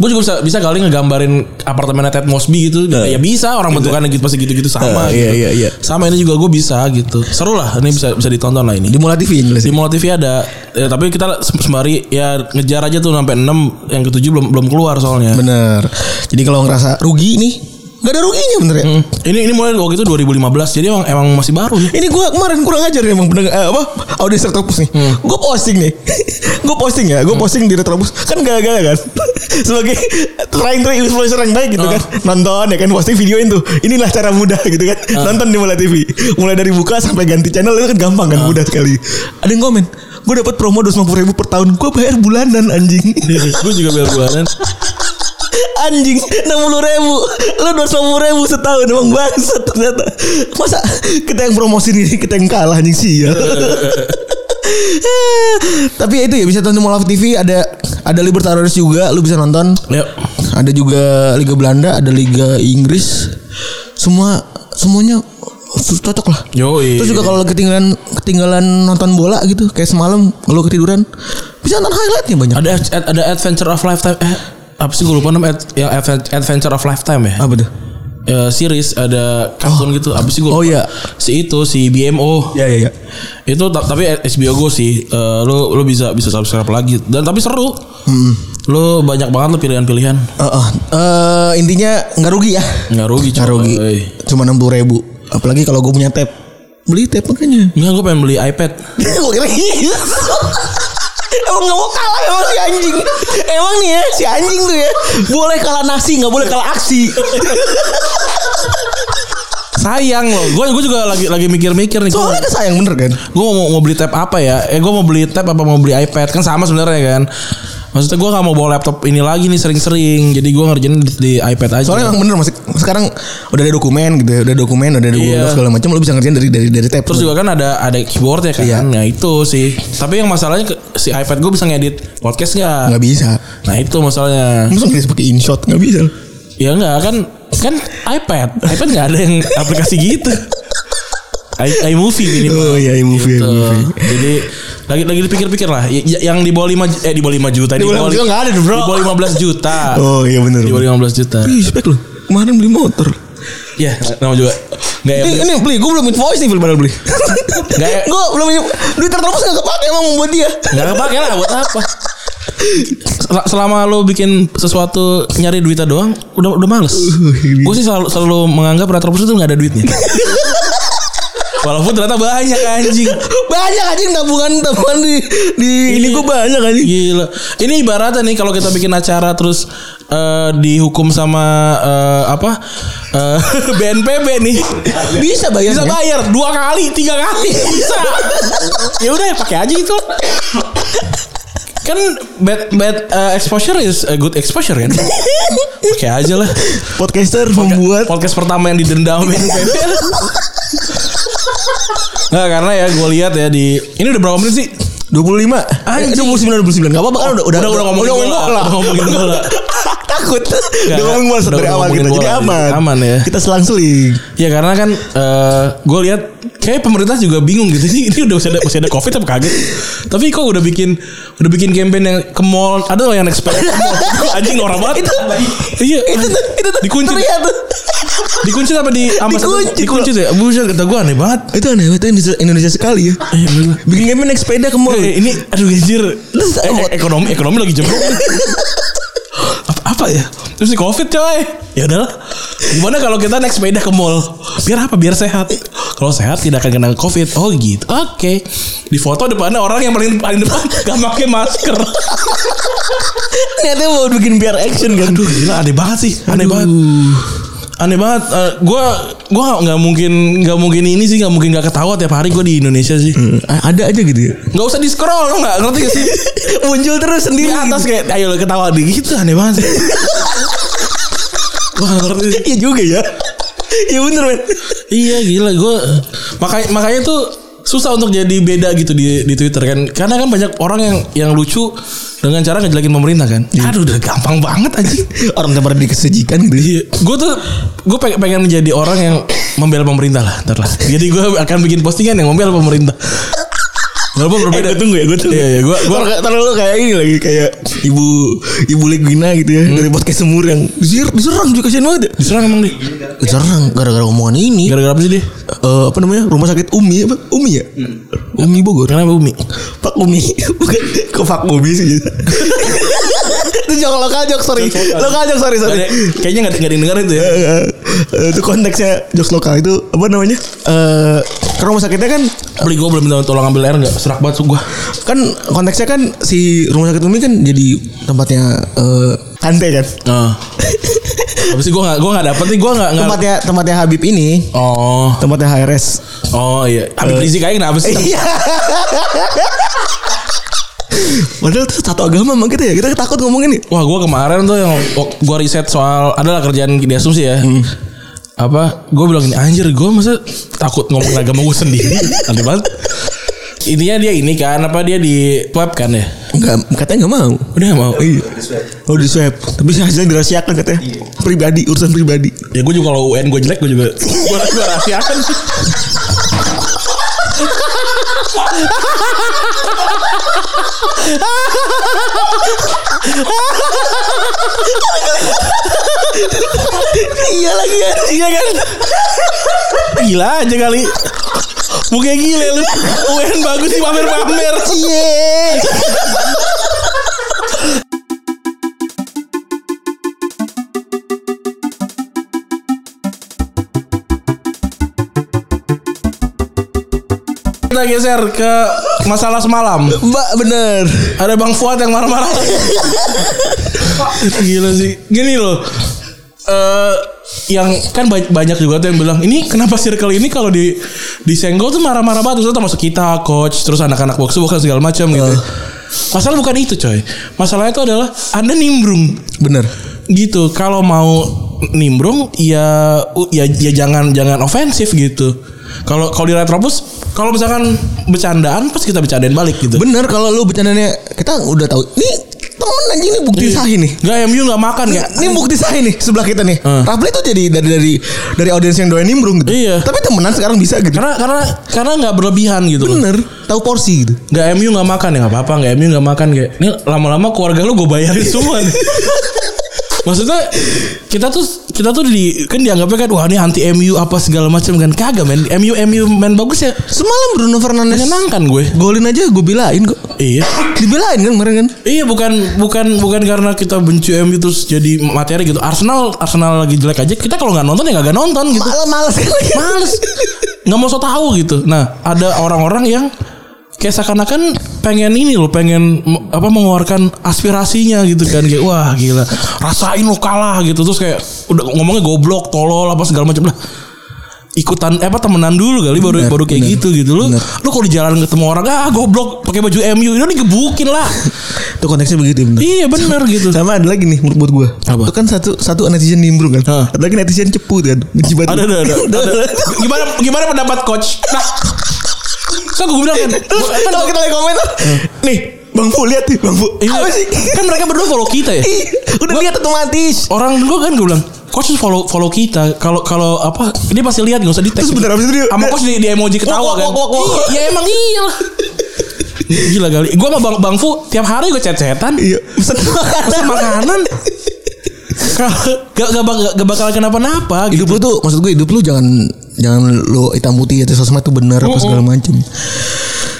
gue juga bisa bisa kali ngegambarin apartemennya Ted Mosby gitu. Ya bisa orang bentukannya gitu pasti gitu-gitu
Eh, Nah.
sama.
iya,
gitu.
iya, iya.
Sama ini juga gue bisa gitu. Seru lah ini bisa bisa ditonton lah ini.
Di Mola TV ini lah
Di
sih.
Mola TV ada Ya, tapi kita sembari ya ngejar aja tuh sampai 6 yang ketujuh belum belum keluar soalnya.
Bener. Jadi kalau ngerasa rugi nih, gak ada ruginya bener ya.
Hmm. Ini ini mulai waktu itu 2015. Jadi emang emang masih baru ya.
Ini gue kemarin kurang ajar nih emang pendengar eh, apa audiens Retropus nih. Gue posting nih, gue posting ya, gue posting di Retropus kan gara-gara kan sebagai trying trying influencer yang baik gitu kan nonton ya kan posting videoin tuh. Inilah cara mudah gitu kan nonton di Mola TV. Mulai dari buka sampai ganti channel itu kan gampang kan mudah sekali. Ada yang komen, gue dapat promo dua ribu per tahun, gue bayar bulanan anjing.
gue juga bayar bulanan.
Anjing 60 ribu Lu 250 ribu setahun Emang bangsa ternyata Masa kita yang promosi ini Kita yang kalah anjing sial Tapi ya itu ya bisa tonton di Molaf TV ada ada Libertadores juga lu bisa nonton.
Yep.
Ada juga Liga Belanda, ada Liga Inggris. Semua semuanya cocok lah.
Yoi.
Terus juga kalau ketinggalan ketinggalan nonton bola gitu kayak semalam kalau ketiduran bisa nonton highlightnya banyak.
Ada ada Adventure of Lifetime. Eh, apa sih gue lupa namanya Ad- yang Adven- Adventure of Lifetime ya.
Apa tuh?
Eh, series ada kartun gitu. Apa sih gue?
Oh, iya.
Si itu si BMO.
Ya ya ya.
Itu ta- tapi HBO gue sih. Eh, lu lu bisa bisa subscribe lagi. Dan tapi seru.
Hmm.
Lu banyak banget lu pilihan-pilihan.
Eh, eh, eh, intinya nggak rugi ya.
Nggak rugi.
Nggak rugi.
coy.
Cuma eh. enam puluh ribu. Apalagi kalau gue punya tab. Beli tab makanya.
Nggak gue pengen beli iPad.
Gue kira gitu. Emang gak mau kalah emang si anjing Emang nih ya si anjing tuh ya Boleh kalah nasi gak boleh kalah aksi
Sayang loh. Gue gue juga lagi lagi mikir-mikir nih. Gua-
Soalnya kan sayang bener kan
gue mau mau beli tab apa ya? Eh gue mau beli tab apa mau beli iPad kan sama sebenarnya kan. Maksudnya gue gak mau bawa laptop ini lagi nih sering-sering. Jadi gue ngerjain di, di iPad aja.
Soalnya emang bener masih sekarang udah ada dokumen gitu ya, udah dokumen udah ada Google
Iya.
Docs segala macam lu bisa ngerjain dari dari dari tab.
Terus juga kan ada ada keyboard ya kan.
Iya.
Nah itu sih. Tapi yang masalahnya ke- si iPad gue bisa ngedit podcast nggak?
nggak bisa.
Nah itu masalahnya.
Masa nggak bisa pakai InShot nggak bisa.
Ya nggak kan kan iPad. iPad nggak ada yang aplikasi gitu. i- iMovie minimal.
Oh iya iMovie
Tuh.
iMovie.
Jadi lagi lagi dipikir-pikir lah Y- y- yang di bawah 5 eh di bawah 5 juta
Di bawah 5 juta nggak ada, bro.
Di bawah 15 juta.
Oh iya bener.
Di bawah 15 juta.
Respect lu. Kemarin beli motor. Eh,
Ya, nama juga. Enggak ya.
Ini, ini beli, gue belum invoice nih padahal beli.
Nggak ya.
gue belum duit terus nggak kepake emang membuat dia.
Enggak kepake lah buat apa? Sel- Selama lo bikin sesuatu nyari duitnya doang, udah udah males. Gue sih selalu selalu menganggap Retropus itu nggak ada duitnya. Walaupun ternyata banyak anjing.
Banyak anjing tabungan tabungan di di ini gue banyak anjing.
Iya. Gila. Ini ibaratnya nih kalau kita bikin acara terus eh, dihukum sama eh, apa? Eh, BNPB nih.
Bisa bayar.
Bisa
ya?
bayar dua ya kali, tiga kali bisa. ya udah pakai aja itu. kan gitu. kan bad bad uh, exposure is a good exposure kan. Oke aja lah.
Podcaster membuat
Podcast pertama yang didendam Nah, karena ya gue lihat ya di ini udah berapa menit sih?
25.
Anjing.
Anjing. 29 29. Enggak apa-apa kan udah udah
Udah- udah ngomongin
udah
bola. Udah ngomongin bola.
Takut.
Enggak,
Udah ngomongin bola
udah
dari awal kita.
ngomongin
Jadi
bola, jadi
aman.
aman ya.
Kita selang-seling.
Ya karena kan eh gue lihat kayak pemerintah juga bingung gitu sih ini udah masih ada masih ada covid apa kaget tapi kok udah bikin udah bikin campaign yang ke mall ada loh yang expert ke mall. Itu anjing norak banget iya
Itu tuh itu tuh
dikunci
terlihat tuh.
dikunci apa di ambasador
Dikunci,
dikunci tuh ya buset kata gue aneh banget
Itu aneh banget Indonesia, Indonesia sekali ya. Bikin game naik sepeda ke mall.
Eh, ini aduh anjir
Terus,
Eh, eh, ekonomi ekonomi lagi jebol apa, apa ya terus di covid coy ya udahlah gimana kalau kita naik sepeda ke mall biar apa biar sehat kalau sehat tidak akan kena covid oh gitu oke di foto depannya orang yang paling paling depan gak pakai masker
Niatnya mau bikin biar action kan.
aduh gila aneh banget sih aneh banget aneh banget Eh, gue gue nggak mungkin nggak mungkin ini sih nggak mungkin nggak ketawa tiap hari gue di Indonesia sih
Hmm. Ada aja gitu ya.
nggak usah di scroll nggak ngerti gak sih
Muncul terus
di
sendiri. gitu.
atas kayak ayo lo ketawa di gitu aneh banget sih. Gua nggak ngerti sih.
Iya juga ya. Iya bener men.
Iya gila gue makanya makanya tuh susah untuk jadi beda gitu di di Twitter kan karena kan banyak orang yang yang lucu dengan cara ngejelekin pemerintah kan. Aduh udah gampang banget anjing.
Orang yang pernah dikesajikan gitu.
gue tuh gue pengen, pengen menjadi orang yang membela pemerintah lah ntar lah. Jadi gue akan bikin postingan yang membela pemerintah. Walaupun
Eh, gua
berbeda.
tunggu ya, gua tunggu.
Iya iya gue
Gua terlalu kayak ini lagi kayak ibu ibu Legwina gitu ya dari podcast semur yang diser, diserang juga kasihan banget. Ya.
diserang emang deh.
Diserang gara-gara omongan ini.
Gara-gara apa sih deh?
Eh, apa namanya? Rumah sakit Umi apa? Umi ya? Umi Bogor.
Kenapa Umi?
Pak Umi. Bukan ke Pak Umi sih. Itu jok lokal jok sorry. Lokal jok sorry sorry.
Nggak ada- Kayaknya nggak nggak ada yang denger itu ya.
Eh, eh, eh, itu konteksnya jokes lokal itu apa namanya? Eh, ke rumah sakitnya kan
Beli gue belum minta tolong ambil air nggak? Serak banget sumpah.
kan konteksnya kan si rumah sakit Umi kan jadi tempatnya eh Kante kan.
Nah. Habis itu gue gak, gue gak dapet nih, gue gak, nggak
Tempatnya tempatnya Habib ini,
Oh,
tempatnya HRS.
oh iya. Habib Rizik aja kenapa sih?
Iya. Padahal itu satu agama emang kita ya. Kita takut ngomongin nih.
Wah, gue kemarin tuh yang gue riset soal adalah kerjaan di asumsi ya. Apa? Gue bilang gini, anjir gue masa takut ngomong agama gue sendiri. Aneh banget. Intinya dia ini kan, apa dia di web kan ya?
Enggak, katanya enggak mau.
Udah nggak mau.
Iya. Oh di swab. Tapi hasilnya dirahasiakan katanya. Pribadi, urusan pribadi.
Ya gue juga kalau UN gue jelek gue juga gue gue rahasiakan.
iya lagi ya.
Iya kan? Gila aja kali. Mukanya gila lu. UN bagus sih pamer-pamer.
Iya.
Kita geser ke masalah semalam.
Mbak bener.
Ada Bang Fuad yang marah-marah. gila sih. Gini loh. Eh yang kan ba- banyak juga tuh yang bilang ini kenapa circle ini kalau di disenggol tuh marah-marah banget terus termasuk kita coach terus anak-anak box bukan segala macam gitu. Masalah bukan itu coy. Masalahnya itu adalah Anda nimbrung.
Bener.
gitu kalau mau nimbrung ya ya, ya jangan jangan ofensif gitu kalau kalau di retropus kalau misalkan bercandaan pas kita bercandain balik gitu
Bener kalau lu bercandanya kita udah tahu. Nih temen anjing nih bukti sahih Iya. nih.
nggak MU nggak makan ya
Ini bukti sahih nih sebelah kita nih.
Hmm.
Rafli tuh jadi dari dari dari audiens yang doain nimbrung gitu.
Iya.
Tapi temenan sekarang bisa gitu.
karena karena karena nggak berlebihan gitu loh.
Bener, tahu porsi gitu.
nggak MU nggak makan ya nggak apa-apa nggak MU nggak makan kayak ini lama-lama keluarga lu gue bayarin semua nih. Maksudnya kita tuh kita tuh di kan dianggapnya kan wah ini anti MU apa segala macam kan kagak men MU MU main bagus ya
Semalam Bruno Fernandes
menyenangkan gue
golin aja gue belain kok.
iya
Dibelain kan kemarin kan?
Iya bukan bukan bukan karena kita benci MU terus jadi materi gitu. Arsenal Arsenal lagi jelek aja kita kalau nggak nonton ya nggak nonton gitu.
Malah males kan lagi.
Males. Nggak mau so tahu gitu. Nah ada orang-orang yang kayak seakan-akan pengen ini loh pengen m- apa mengeluarkan aspirasinya gitu kan kayak wah gila rasain lo kalah gitu terus kayak udah ngomongnya goblok tolol apa segala macam lah ikutan eh, apa temenan dulu kali baru
Bener,
baru kayak
bener,
gitu gitu lu
bener.
lu kalau di jalan ketemu orang ah goblok pakai baju MU itu digebukin lah
Itu konteksnya begitu bener.
Iya benar gitu.
Sama ada lagi nih menurut buat gue.
Apa?
Itu kan satu satu netizen nimbrung kan.
Hah.
Ada lagi netizen cepu kan. Benci banget.
Ada ada ada. ada. Gimana gimana pendapat coach? Nah. Kan gue bilang kan.
Terus
gua- kan-
kalau kita lagi komentar. Nih Bang Bu lihat nih Bang Bu.
Iya.
Apa sih?
Kan mereka berdua follow kita ya.
Ih, Udah lihat otomatis.
Orang gue kan gue bilang coach follow follow kita. Kalau kalau apa dia pasti lihat nggak usah di tag.
Terus bentar abis itu dia.
Sama coach di, di emoji
Wok,
ketawa
wok,
kan.
wok, wok, wok.
Iya emang iya lah. Gila kali. Gue sama Bang Bang Fu tiap hari gue chat-chatan.
Iya. Pesan makanan.
Pesan makanan. Gak, gak, bak- gak bakal kenapa-napa gitu.
hidup lu tuh maksud gue hidup lu jangan jangan lu hitam putih atas sosmed tuh benar apa segala macem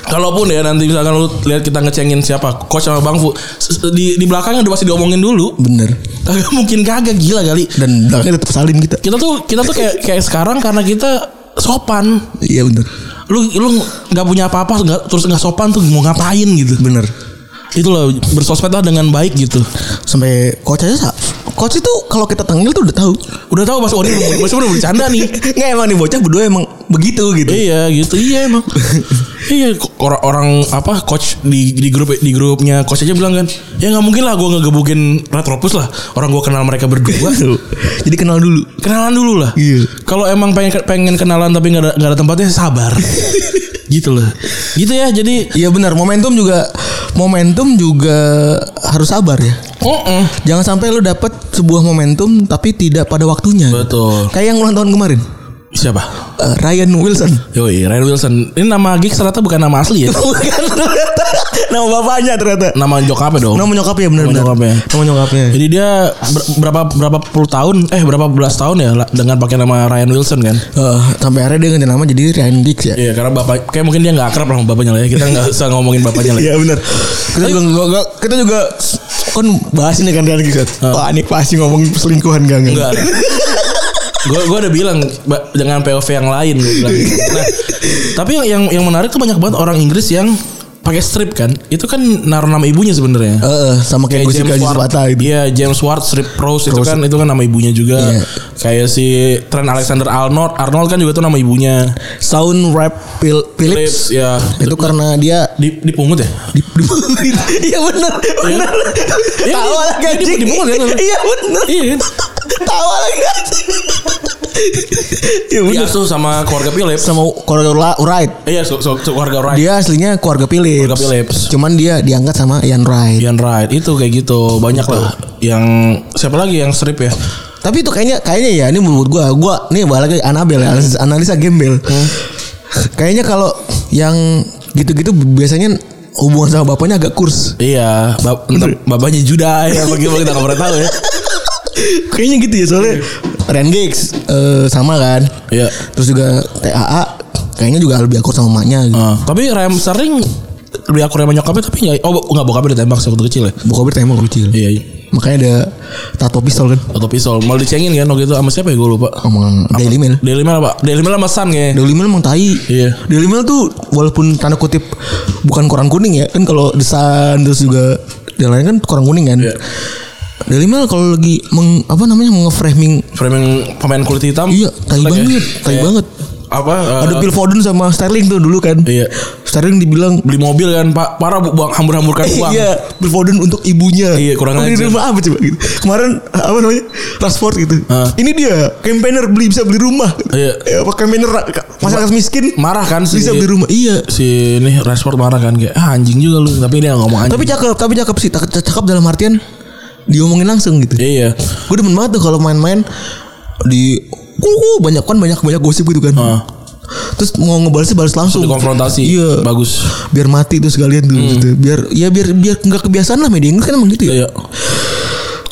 Kalaupun ya nanti misalkan lu lihat kita ngecengin siapa coach sama Bang Fu s- s- di di belakangnya udah pasti diomongin dulu.
bener
Kagak mungkin kagak gila kali.
dan belakangnya tetap salin kita
Kita tuh kita tuh kayak kayak sekarang karena kita sopan.
iya bener
Lu lu nggak punya apa-apa nggak terus nggak sopan tuh mau ngapain gitu.
bener
Itulah bersosmed lah dengan baik gitu.
sampai coach aja sa- coach itu kalau kita tengil tuh udah tahu
Udah tahu pas waduh masih udah bercanda nih.
nggak emang nih bocah berdua emang begitu gitu
Iya gitu iya emang iya orang orang apa coach di di grup di grupnya coach aja bilang kan ya nggak mungkin lah gue ngegebukin retropus lah orang gue kenal mereka berdua
jadi kenal dulu
kenalan dulu lah
Iya.
kalau emang pengen pengen kenalan tapi nggak ada nggak ada tempatnya sabar gitu loh gitu ya jadi
Iya benar momentum juga momentum juga harus sabar ya
uh-uh.
jangan sampai lu dapet sebuah momentum tapi tidak pada waktunya
betul
kayak yang ulang tahun kemarin
siapa
Eh, Ryan Wilson
Yoi, Ryan Wilson. Ini nama gigs ternyata bukan nama asli ya.
Bukan ternyata Nama bapaknya ternyata
Nama nyokapnya dong.
Nama ya. nyokapnya benar-benar
Nama nyokapnya.
Nama nyokapnya
Jadi dia ber- berapa berapa puluh tahun eh berapa belas tahun ya la- dengan pakai nama Ryan Wilson kan?
Eh, Sampai akhirnya dia ganti nama jadi Ryan Giggs ya
Iya karena bapak kayak mungkin dia nggak akrab lah sama bapaknya lah ya. Kita nggak usah ngomongin bapaknya lah. ya.
Iya, benar Kita juga nggak- nggak- Kita juga Kan bahas ini kan Ryan Giggs kan Wah ini pasti ngomong selingkuhan gak
Enggak. Gue gue udah bilang ba- jangan POV yang lain. Gua bilang. Nah, tapi yang, yang yang menarik tuh banyak banget orang Inggris yang pakai strip kan. Itu kan naruh nama ibunya sebenarnya.
Eh, sama kayak Gusika Aji
Ward.
Sepata gitu
Iya, James Ward strip Rose itu
Rose.
kan itu kan nama ibunya juga.
Iya.
Kayak si Trent Alexander Arnold, Arnold kan juga tuh nama ibunya.
Sound Rap Phil- Phillips
Phillips ya.
Itu karena dia
Di dipungut ya?
di- di- Iya benar Benar
Iya,
Tawa
iya,
lagi
iya,
anjing.
di- dipungut kan?
Iya benar
Iya.
Tawa lagi anjing. Iya benar
Diasuh sama keluarga Phillips.
sama keluarga Wright.
Iya, so, so, so keluarga Wright.
Dia aslinya keluarga Philips. Iya.
Keluarga Phillips.
Cuman dia diangkat sama Ian Wright.
Ian Wright itu kayak gitu banyak lah yang siapa lagi yang strip ya
Tapi itu kayaknya kayaknya ya ini menurut gua, gua nih balik lagi Anabel ya, analisa, analisa gembel. Kayaknya kalau yang gitu-gitu biasanya hubungan sama bapaknya agak kurs.
iya bab, entah, babanya Juda ya bagaimana kita nggak pernah tahu ya
kayaknya gitu ya soalnya Ryan Giggs eh, sama kan.
Iya.
Terus juga TAA kayaknya juga lebih akur sama emaknya gitu.
Eh, tapi Ram sering lebih akur sama nyokapnya tapi nggak oh nggak bokapnya ditembak sih waktu kecil ya
Bokapnya tembak kecil.
iya
Makanya ada tato pistol kan.
atau pisau mau dicengin kan waktu itu sama siapa ya gue lupa
Sama Daily Mail.
Daily Mail apa Daily Mail sama Sun ya. kayaknya
Daily Mail emang tai.
Iya.
Daily Mail tuh walaupun tanda kutip bukan koran kuning ya. Kan kalau The Sun terus juga yang lain kan koran kuning kan.
Iya.
Daily Mail kalau lagi meng, apa namanya nge-framing
framing pemain kulit hitam
iya tai
Kayak-
banget, tai
kayak
banget.
apa ya? Iya. eh,
Ada Phil Foden sama Sterling tuh dulu kan.
Iya.
Sterling dibilang
beli mobil kan pak parah bu buang hambur-hamburkan uang
Iya, Phil Foden untuk ibunya.
Iya, kurang
Ini
ajar.
rumah apa coba gitu. Kemarin apa namanya? Rashford gitu.
Ah.
Ini dia campaigner beli bisa beli rumah.
Iya.
Eh, Apa campaigner masyarakat miskin
marah kan sih
bisa beli rumah. Iya.
si ini Rashford marah kan kayak ah, anjing juga lu tapi dia nggak ngomong anjing
Tapi cakep, tapi cakep sih. Cakep, cakep dalam artian diomongin langsung gitu.
iya iya
Gue demen banget tuh kalau main-main di kuku banyak kan banyak banyak gosip gitu kan.
Ah.
Terus mau ngebalas balas langsung.
dikonfrontasi
Iya.
bagus
Biar mati tuh sekalian tuh. gitu. Biar ya biar biar nggak kebiasaan lah media Inggris kan emang gitu ya.
iya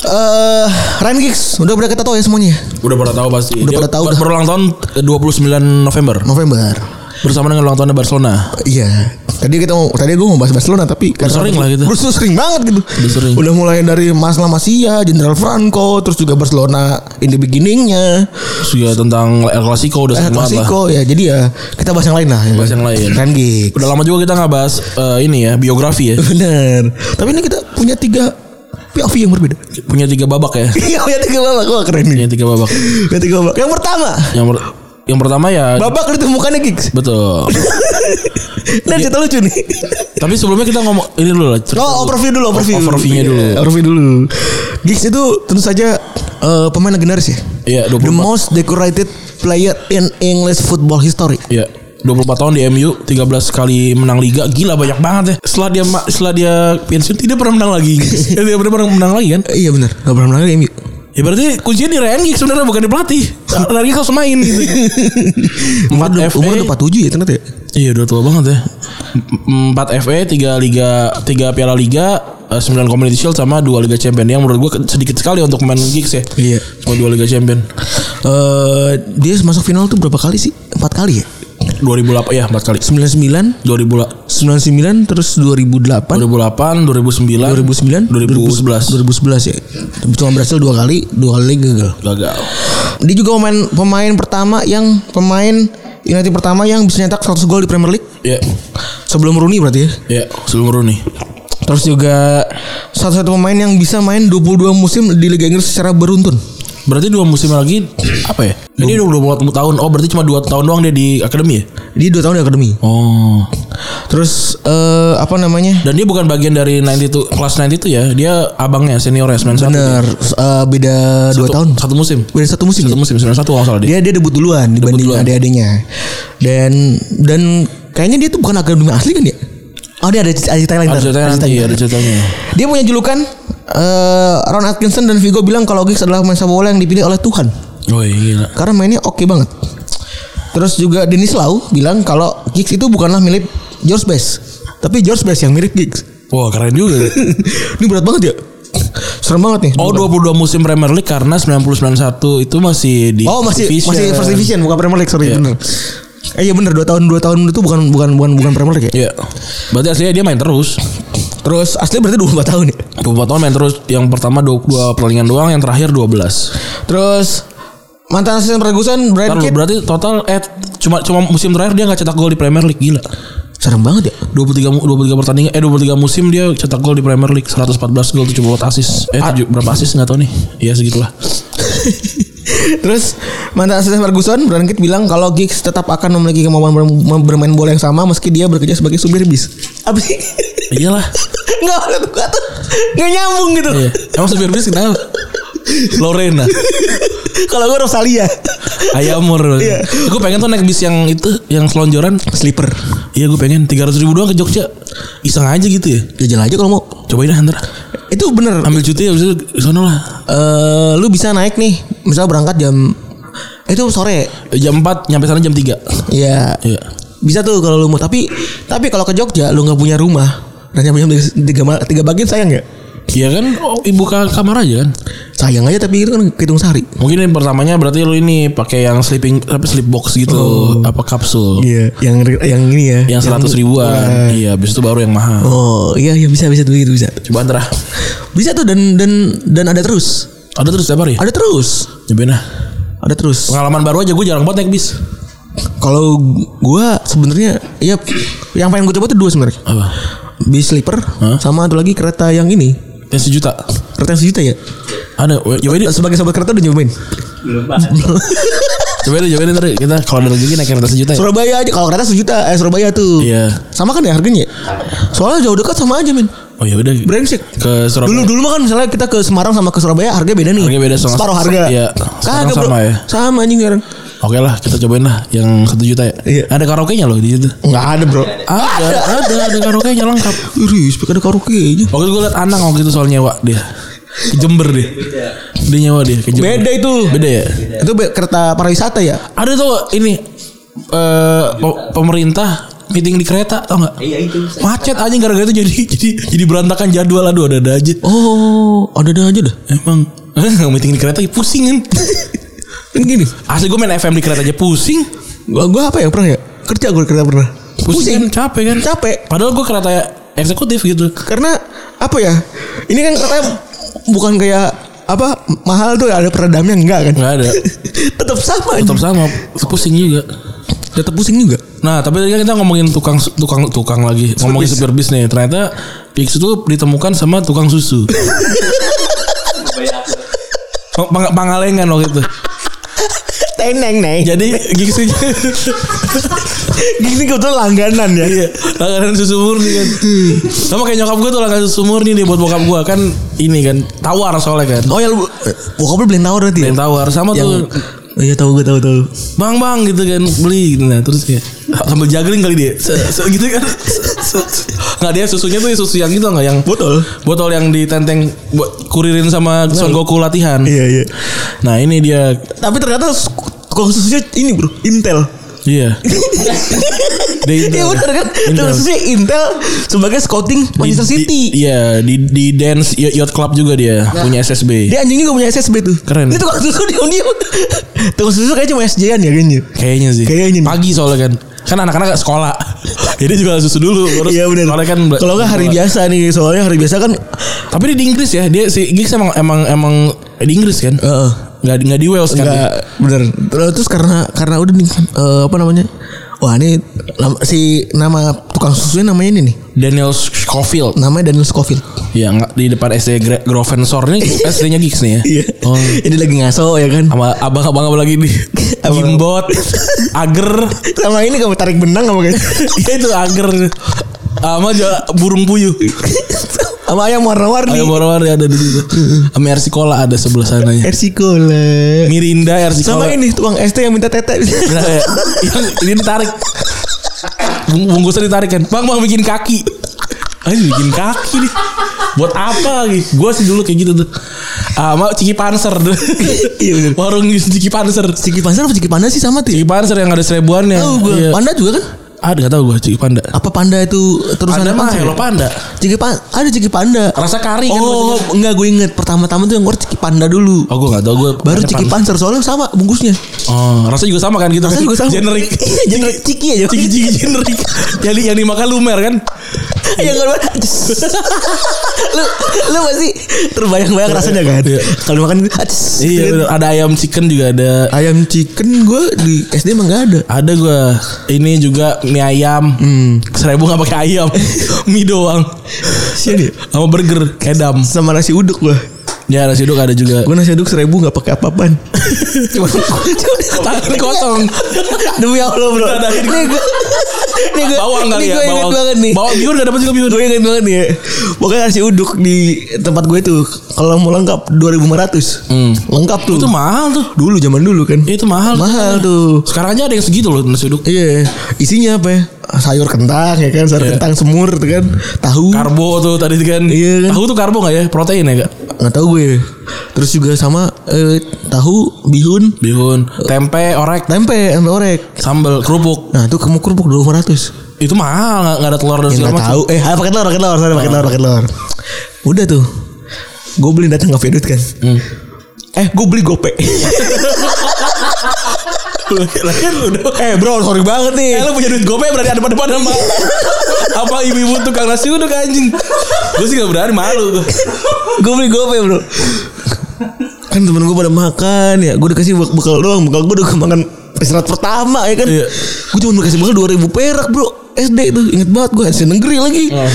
Eh, Ryan Giggs udah pada kita tahu ya semuanya.
udah pada tahu pasti
Udah pada tahu
ber-
dah.
berulang tahun eh, 29 November
November.
bersama dengan ulang tahunnya Barcelona
Iya. Tadi kita mau tadi gue mau bahas Barcelona tapi karena
sering lah gitu.
Gue tuh sering banget gitu.
Udah sering.
Udah mulai dari Mas La Masia, Jenderal Franco, terus juga Barcelona in the beginningnya,
terus juga tentang El Clasico udah
eh,
sering banget lah
Clasico ya. Jadi ya kita bahas yang lain lah. Ya.
Bahas yang lain.
Ryan Giggs.
udah lama juga kita nggak bahas eh, ini ya biografi ya
Bener. Tapi ini kita punya tiga POV yang berbeda.
punya tiga babak ya
Iya, punya tiga babak. Wah keren nih.
punya tiga babak
Punya tiga babak. Yang pertama,
yang ber- yang pertama ya
Babak lu tuh mukanya gigs.
betul.
Dan
Iya.
cerita lucu nih.
Tapi sebelumnya kita ngomong ini dulu lah. cerita
Oh,
dulu.
overview dulu, overview.
Overview-nya dulu.
Iya, overview dulu. Gigs itu tentu saja eh, pemain legendaris ya.
Iya,
The
24.
most decorated player in English football history.
Iya. 24 tahun di MU, 13 kali menang liga, gila banyak banget ya. Setelah dia ma- setelah dia pensiun tidak pernah menang lagi. Eh, tidak pernah menang lagi kan?
Eh, iya benar, enggak pernah menang MU.
Ya berarti kuncinya di Ryan Giggs sebenarnya bukan di pelatih. Ryan Giggs harus main gitu.
Iya. Umur
4
udah,
FA.
umur udah 47 ya ternyata ya.
Iya udah tua banget ya. 4 FA, 3 liga, 3 Piala Liga, eh, 9 Community Shield sama 2 Liga Champion yang menurut gua sedikit sekali untuk main Giggs ya.
Iya.
Cuma 2 Liga Champion.
Eh, dia masuk final tuh berapa kali sih? Empat kali ya?
2008 ya 4 kali.
99,
2000
99 terus 2008,
2008, 2009,
2009,
2011.
2011 ya. Cuma berhasil dua kali, dua kali gagal.
Gagal.
Dia juga pemain pemain pertama yang pemain United pertama yang bisa nyetak 100 gol di Premier League
Ya,
sebelum Rooney berarti ya.
ya sebelum Rooney.
Terus juga satu-satu pemain yang bisa main 22 musim di Liga Inggris secara beruntun.
Berarti dua musim lagi apa ya? Ini udah 24 tahun. Oh, berarti cuma 2 tahun doang dia di akademi ya?
Dia 2 tahun di akademi.
Oh.
Terus eh, apa namanya?
Dan dia bukan bagian dari 92 kelas 92 ya. Dia abangnya ya? seniornya 91.
Bener, eh, beda 2 tahun.
Satu musim.
Beda satu musim. ya?
Satu musim 91 kalau nggak salah dia.
Dia dia debut duluan dibanding
duluan.
adik-adiknya. Dan dan kayaknya dia tuh bukan akademi asli kan ya? Oh dia ada ada cerita lain.
Ada
ntar.
ceritanya
Ada cerita
nanti,
lain.
ada ceritanya.
Dia punya julukan eh, Ron Atkinson dan Vigo bilang kalau Giggs adalah pemain sepak bola yang dipilih oleh Tuhan
Woi, gila.
karena mainnya oke banget. Terus juga Dennis Lau bilang kalau Giggs itu bukanlah milik George Best, tapi George Best yang mirip Giggs.
Wah, keren juga.
Ini berat banget ya. Serem banget nih.
Oh, 22 musim Premier League karena 90-91 itu masih di
Oh masih
division. Iya.
masih first division bukan Premier League sorry bener. Eh iya bener 2 tahun 2 tahun itu bukan bukan bukan bukan Premier League ya.
Iya. Berarti aslinya dia main terus.
Terus asli berarti 24 tahun ya.
24 tahun main terus. Yang pertama 2 pertandingan doang, yang terakhir 12.
Terus mantan asisten Ferguson Brian
Ntar lu,
Kidd
berarti total eh cuma cuma musim terakhir dia nggak cetak gol di Premier League gila.
serem banget ya.
23 mu- 23 pertandingan eh 23 musim dia cetak gol di Premier League 114 gol 74 assist. Eh
Ah.
tujuh- berapa assist nggak tahu nih. Iya segitulah.
Terus mantan asisten Ferguson Brian Kidd bilang kalau Giggs tetap akan memiliki kemampuan ber- bermain bola yang sama meski dia bekerja sebagai supir bis. Apa sih?
Iyalah.
Enggak tuh nggak tuh nggak nyambung gitu.
Iya. Emang supir bis kenapa? Lorena
Kalau gue Rosalia
Ayamur
Iya.
Gue pengen tuh naik bis yang itu Yang selonjoran
sleeper.
Iya gue pengen 300 ribu doang ke Jogja Iseng aja gitu ya
Jajan aja kalau mau.
Cobain dah ntar
Itu bener
Ambil cuti abis itu kesana lah
eh lu bisa naik nih misal berangkat jam eh, itu sore
Jam 4 nyampe sana jam 3
ya
Iya
bisa tuh kalau lu mau tapi tapi kalau ke Jogja lu nggak punya rumah dan yang punya tiga, tiga, ma- tiga bagian sayang ya
Iya kan oh, ibu ka- kamar aja kan
sayang aja tapi itu kan hitung sehari
Mungkin yang pertamanya berarti lu ini pakai yang sleeping apa sleep box gitu apa kapsul
iya yang yang ini ya
yang 100 ribuan. Iya, habis itu baru yang mahal.
oh iya iya bisa bisa tuh gitu bisa
Coba ntar ah.
bisa tuh dan dan dan ada terus
Ada terus tiap hari.
ada terus
Nyobain ah.
ada terus
Pengalaman baru aja gue jarang banget naik bis.
kalau gua sebenarnya ya yang pengen gue coba tuh dua sebenarnya
Apa?
bis sleeper sama satu lagi kereta yang ini
Yang sejuta.
kereta yang sejuta ya
Ada. Coba ini Eh.
sebagai sobat kereta udah nyobain
coba ini coba ini ntar kita kalau ada rezeki naik kereta sejuta. Ya?
Surabaya aja kalau kereta sejuta eh Surabaya tuh
Iya.
sama kan ya harganya soalnya jauh dekat sama aja men
Oh ya udah.
brengsek
Ke Surabaya.
dulu dulu mah kan misalnya kita ke Semarang sama ke Surabaya harga beda nih
Harganya beda sama-
separuh harga
Iya.
kagak
Sekarang sama
sama ya
ya.
sama anjing sekarang
Oke lah, kita cobain lah yang satu juta ya.
Iya.
Ada karaoke-nya loh di situ.
nggak ada bro
Ada, ada, ada karaoke-nya lengkap.
Iris, pakai ada karaoke aja.
Waktu itu gue liat Anang waktu itu soal nyewa dia. Ke Jember dia. Dia nyewa dia ke Jember.
Beda itu.
Beda ya?
Itu be- kereta pariwisata ya?
Ada tuh ini eh pe- pemerintah meeting di kereta tau nggak? Iya itu. Macet aja gara-gara itu jadi jadi jadi berantakan jadwal aduh ada ada aja.
Oh, ada ada aja dah.
Emang eh, meeting di kereta ya pusing kan?
Kan gini,
Asli gue main FM di kereta aja pusing.
gua, gua apa ya pernah ya? Kerja gua kereta pernah.
Pusing, kan, capek kan?
Capek.
Padahal gue kereta eksekutif gitu.
karena apa ya ini kan katanya bukan kayak apa mahal tuh ya? ada peredamnya enggak kan
Nggak ada.
tetap sama tetap
Tetap sama pusing juga.
tetap pusing juga
Nah, tapi tadi kan kita ngomongin tukang tukang tukang lagi, ngomongin
bis.
supir bis nih. Ternyata Pix itu ditemukan sama tukang susu. Oh, Peng- Peng, pangalengan waktu itu.
Teneng neng.
Jadi gitu. Giggsnya
Gini kebetulan langganan ya.
Iya Langganan susu murni kan Sama kayak nyokap gue tuh langganan susu murni nih buat bokap gue Kan ini kan Tawar soalnya kan
Oh ya lu bokap lu beliin tawar berarti ya?
Yang tawar Sama
Yang-
tuh
Oh, iya tahu gue tahu tahu.
Bang bang gitu kan Beli gitu nah Terus kayak Sambil juggling kali dia Se- se-
Iya
Gitu kan Nggak dia susunya tuh susu yang gitu nggak Yang
Botol.
botol yang ditenteng buat Kuririn sama Son Goku latihan
Iya iya.
Nah ini dia
Tapi ternyata s- tukang susunya ini bro, Intel.
Iya Dia Intel.
Iya bener kan?
Intel.
Tukang susunya Intel sebagai scouting Manchester City.
Di-
Nah.
di- Iya di, di dance y- yacht club juga dia punya SSB.
Dia anjingnya gak punya SSB tuh.
Keren.
Ini tukang susu dia dia. Tukang susu kayaknya cuma SJ-an ya kayaknya.
Kayaknya sih.
Kayaknya nih.
Pagi soalnya kan. Kan anak-anak gak sekolah. Jadi juga susu dulu. Terus
Iya benar.
Soalnya kan
Kalau nggak hari biasa nih, soalnya hari biasa kan
Tapi dia di Inggris ya. Dia si Giggs emang emang emang di Inggris kan.
Heeh.
Nggak di- nggak di Wales kan. dia?
Enggak Eh. bener Terus terus karena karena udah nih eh, apa namanya? Wah ini lam- si nama tukang susunya namanya ini nih.
Daniel Schofield.
Namanya Daniel Scofield.
Ya nggak di depan SD Gre- Grosvenor ini SD-nya Giggs nih ya.
Oh.
Oh.
Ini lagi ngaso ya kan.
Sama abang-abang apa lagi nih?
Abang-
Gimbot, Ager,
Sama ini kamu tarik benang kamu guys.
ya itu Ager, sama juga burung puyuh.
Sama ayam
Ayo
warna-warni.
warna-warni ada di situ. Sama RC Cola ada sebelah sananya.
Ersikola.
Mirinda RC
Sama
Cola.
ini tukang ST yang minta tete.
Nah, ya. Ini- Ini ditarik. Bung- Bungkusnya ditarik kan. Bang bang bikin kaki. Ayo bikin kaki nih. Buat apa lagi? Gue sih dulu kayak gitu tuh. Sama Ciki Panser.
Iya bener.
Warung Ciki Panser.
Ciki Panser apa Ciki Panda sih sama tuh?
Ciki Panser yang ada seribuannya.
Tahu gue.
Iya.
Panda juga kan?
Ah, gak tau gue Ciki Panda.
Apa panda itu terusan
Panda mah
Panser?
Hello Panda.
Ciki Pan ada Ciki Panda.
Rasa kari kan.
Oh,
maksudnya.
enggak gue inget pertama-tama tuh yang keluar Ciki Panda dulu.
Oh gue gak tau gue
Baru Ciki Panser soalnya sama bungkusnya.
Oh, rasanya juga sama kan gitu.
Rasanya
kan?
juga sama.
Generic.
Iya, generic. Ciki aja.
Ciki ciki generic. Jadi yang dimakan lumer kan?
Yang keluar. lu lu masih terbayang-bayang rasanya kan?
Iya.
Kalau makan
Iya, bener. ada ayam chicken juga ada.
Ayam chicken gue di SD emang gak ada.
Ada gua. Ini juga mie ayam.
Hmm.
Seribu nggak pakai ayam. mie doang.
Sini.
Sama burger edam.
Sama nasi uduk gue.
Ya nasi uduk ada juga.
Gue nasi uduk seribu gak pakai apa-apaan. Cuma
Tangan kosong.
Demi Allah bro.
Ada ini.
Nih gue. Nih gue.
Bawang
nih
kali ya.
gue inget
Bawang.
banget nih.
Bawang biur nggak dapat juga biur.
Gue inget banget nih ya. Pokoknya nasi uduk di tempat gue tuh. Kalau mau lengkap 2500. Lengkap tuh.
Itu mahal tuh.
Hmm. dulu zaman dulu kan.
Itu mahal.
Mahal tuh.
Sekarang aja ada yang segitu loh nasi uduk.
Iya, isinya apa ya? Sayur kentang ya kan, sayur kentang semur tuh kan, tahu.
Karbo tuh tadi kan.
Iya kan.
Tahu tuh karbo nggak ya? Protein ya kak?
nggak tahu gue. Terus juga sama eh, tahu, bihun,
Bihun, tempe, orek,
tempe, tempe orek.
sambal, kerupuk.
Nah, itu kamu kerupuk 2500.
Itu mahal nggak- nggak ada telur dan
Ya
segala
nggak
macam.
tahu. Eh, ah, pakai telur, pakai telur, sorry, pakai telur, pakai telur. Udah tuh. Gue beli datang ke Vedut kan. Eh, gue beli gope.
Lah kan udah.
eh, bro, sorry banget nih.
Eh lu punya duit gope berarti ada pada depan sama apa ibu-ibu tukang nasi uduk anjing. Gue sih gak berani malu gua.
gue beli gope, bro. kan temen gue pada makan ya gue dikasih bak- bekal doang bekal gue udah makan istirahat pertama ya kan
Iya.
gue cuma dikasih bekal 2000 perak bro SD tuh inget banget gue SD negeri lagi
Ah.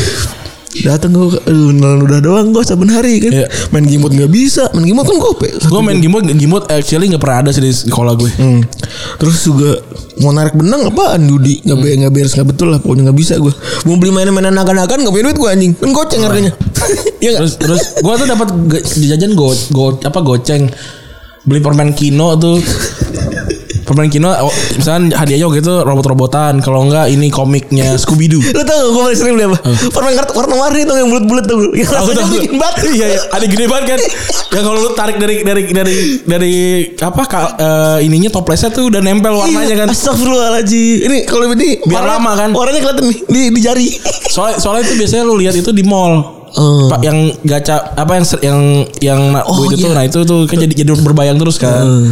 datang gue aduh nelan udah doang gue saben hari kan
Iya.
main gimot nggak bisa main gimot kan gope
Gue main gimbot gimbot actually gak pernah ada sih di sekolah gue.
Hmm. Terus juga mau narik benang apaan Dudi nggak be nggak beres nggak betul lah pokoknya nggak bisa gue mau beli mainan-mainan nakan-nakan nggak punya duit gue anjing kan goceng harganya
Ah.
ya nggak?
Terus terus gue tuh dapat ge- jajan go, go apa goceng beli permen kino tuh permen kino oh, misalnya hadiahnya waktu itu robot-robotan kalau enggak ini komiknya Scooby Doo
Lu tau gak gue paling sering beli apa? Permen kartu warna-warni tuh yang bulat-bulat tuh bro. Yang
Ah. Aku
rasanya
tahu.
bikin batu
Iya, iya. ada gede banget kan. Yang kalau lu tarik dari dari dari dari apa ka- eh, ininya toplesnya tuh udah nempel
Iya.
warnanya kan.
Astagfirullahaladzim Ini kalau ini
Biar lama kan?
Warnanya kelihatan nih Di, di jari
Soalnya soalnya itu biasanya lu lihat itu di mall.
Hmm.
Pak yang gacha apa yang ser- yang yang na-
Oh,
duit
iya.
itu nah itu tuh kan jadi jadi berbayang terus kan.
Eh,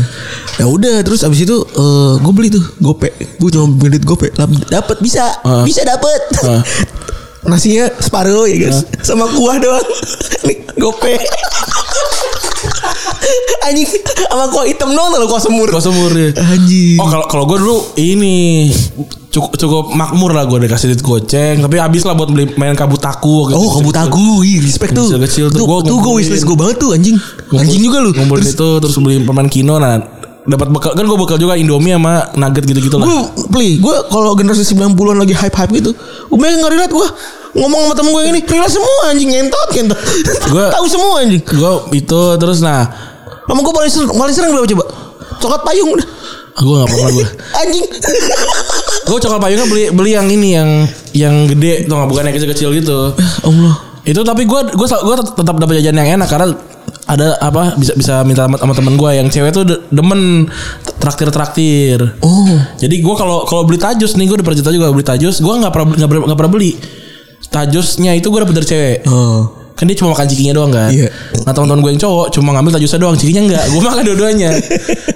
ya udah terus abis itu eh, gue beli tuh gope gue cuma beli duit gope Lah, dapet bisa
Heeh.
bisa dapet
Heeh.
nasinya separuh ya guys
Eh.
sama kuah doang nih gope anjing sama kuah hitam doang loh kuah semur
Gua semur ya.
anjing
Oh kalau kalau gue dulu ini cukup cukup makmur lah gue dikasih duit goceng tapi habis lah buat beli main kabutaku gitu.
Oh kabut aku Ih respect tuh
Kecil-kecil tuh.
Tuh,
Gua
tuh gue
ngumpulin.
wishlist gue banget tuh anjing Anjing juga lu
ngumpulin
Terus
itu terus beli permen kino nah dapat bekal kan gue bekal juga Indomie sama nugget gitu-gitu lah.
Gue play, gue kalau generasi 90-an lagi hype-hype gitu, gue pengen nggak relate gue ngomong sama temen gue yang ini relate semua anjing ngentot ngentot.
Gua-
tahu semua anjing.
Gue itu terus nah
Sama gue paling sering, paling sering berapa coba? Coklat payung udah.
gue nggak pernah gue.
Anjing.
Gue coklat payungnya beli beli yang ini yang yang gede tuh nggak bukan yang kecil-kecil gitu.
Allah.
itu tapi gue gue gue tetap dapat jajan yang enak karena ada apa bisa bisa minta sama, sama temen gue yang cewek tuh de- demen traktir traktir
Oh.
jadi gue kalau kalau beli tajus nih gue udah pernah cerita juga beli tajus gue nggak pernah nggak pernah- nggak pernah beli tajusnya itu gue dapet dari cewek
Oh.
kan dia cuma makan cikinya doang kan
Iya.
nah teman-teman gue yang cowok cuma ngambil tajusnya doang cikinya enggak gue makan dua-duanya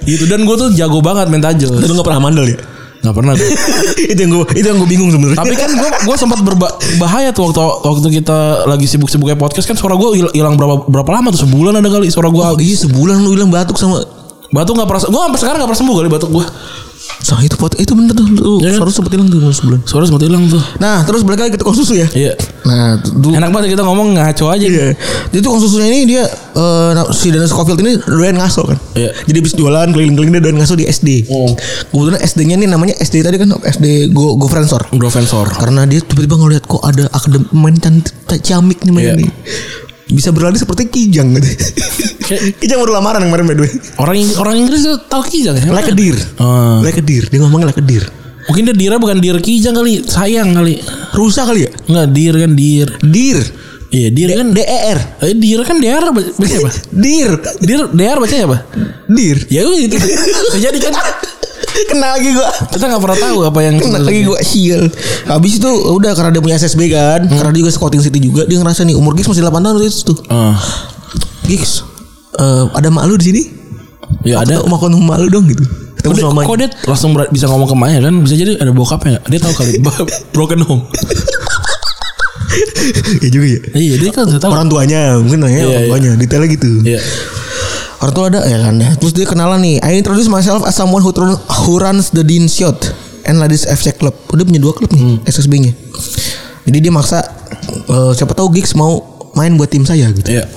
gitu dan gue tuh jago banget main tajus
Lu gak pernah mandel ya?
nggak pernah gue
itu yang gue itu yang gue bingung sebenarnya.
Tapi kan gue gua sempat berbahaya tuh waktu waktu kita lagi sibuk-sibuknya podcast kan suara gue hil- hilang berapa berapa lama tuh sebulan ada kali suara gue
iya sebulan lu bilang batuk sama
batuk nggak pernah gue sampai sekarang nggak pernah sembuh kali batuk gue
Nah itu pot itu bener tuh lu
Iya kan?
suara sempet hilang tuh sebulan.
suara sempat hilang tuh
Nah terus balik lagi ke tukang susu ya.
iya
Nah tuh,
enak banget kita ngomong ngaco aja
Iya. Jadi tukang susunya ini dia eh, si Dennis Scofield ini doyan ngaso kan.
Iya.
Jadi habis jualan keliling-keliling dia doyan ngaso di SD.
Oh.
Kebetulan SD-nya nih namanya SD tadi kan SD Go Go Friendsor.
Grofensor
Karena dia tiba-tiba ngeliat kok ada akadem main cantik ciamik nih main
Iya.
nih. Bisa berlari seperti Kijang gitu. Kijang baru lamaran kemarin by the way.
orang Ing- orang Inggris tuh tahu kijang ya
Like a deer.
Ah.
Like a deer. Dia ngomongnya like a deer.
mungkin dia dira bukan dir kijang kali sayang kali
Rusa kali ya?
nggak dir kan dir
Deer.
iya dir kan
D-E-R.
eh, dir kan dr baca apa
Deer.
dir dr bacanya apa
Deer.
ya udah gitu jadi kan
Kena lagi gua.
kita nggak pernah tahu apa yang
Kena lagi gue sial Habis itu udah karena dia punya SSB kan
Hmm.
Karena dia juga scouting city juga Dia ngerasa nih umur Giggs masih 8 tahun waktu itu tuh
Ah.
Giggs eh, Ada mak lu di sini
ya ada
Ada makan sama mak lu dong gitu Ketemu
Udah,
sama mamanya.
kok dia langsung ber- bisa ngomong ke Maya kan bisa jadi ada bokapnya nggak? dia tahu kali Bo- broken home
Iya juga ya
iya dia kan nggak tahu
Orang tuanya Mungkin nanya
Iya,
orang
iya.
tuanya Detailnya gitu
iya
Orang tua ada ya kan ya. Terus dia kenalan nih I introduce myself as someone who, tru- who runs the Dean Shot And Ladies FC Club Udah punya dua klub
Hmm.
nih SSB nya Jadi dia maksa eh, Siapa tahu Giggs mau main buat tim saya gitu
iya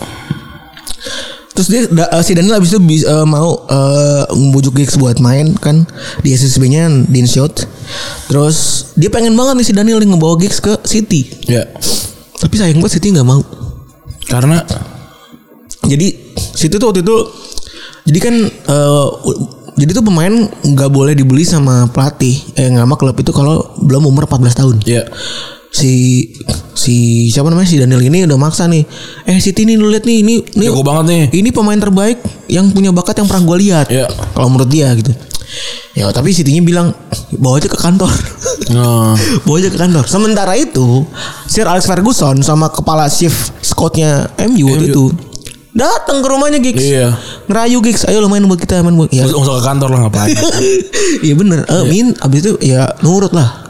Terus dia da- eh, si Daniel abis itu bis- eh, mau eh, membujuk Giggs buat main kan di SSB-nya Dean Shot. Terus dia pengen banget nih si Daniel nih ngebawa Giggs ke City.
iya
Tapi sayang banget City nggak mau.
karena
Jadi City tuh waktu itu jadi kan eh, u- jadi tuh pemain nggak boleh dibeli sama pelatih eh nggak sama klub itu kalau belum umur 14 tahun.
iya
Si si siapa namanya si Daniel ini udah maksa nih. Eh City nih lu lihat nih ini ini
jago banget nih
ini pemain terbaik yang punya bakat yang pernah gue lihat.
Iya.
Kalau menurut dia gitu. Ya tapi Sitinya bilang bawa aja ke kantor.
nah
bawa aja ke kantor. Sementara itu Sir Alex Ferguson sama kepala shift scoutnya MU waktu itu datang ke rumahnya Giggs.
Iya.
Ngerayu Giggs, ayo lo main buat kita main buat. Ya.
nggak usah ke kantor lah ngapain
Iya bener. Eh, Min abis itu ya nurut lah.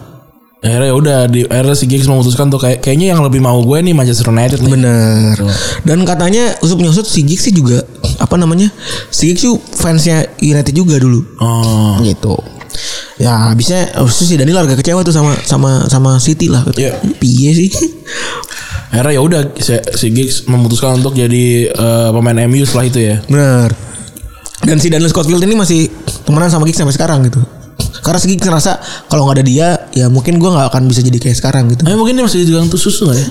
akhirnya ya udah di akhirnya si Giggs memutuskan tuh kayak kayaknya yang lebih mau gue nih Manchester United nih
Bener. Dan katanya usup nyusup si Giggs sih juga apa namanya? Si Giggs tuh fansnya United juga dulu.
oh
gitu ya habisnya habis itu si Daniel agak kecewa tuh sama sama sama City lah
Iya.
Ini piye sih
akhirnya ya udah si, si Giggs memutuskan untuk jadi eh, pemain MU setelah itu ya
benar dan si Daniel Scottfield ini masih temenan sama Giggs sampai sekarang gitu karena si Giggs ngerasa kalau nggak ada dia ya mungkin gua nggak akan bisa jadi kayak sekarang gitu
eh mungkin dia masih di tukang tuh susu nggak ya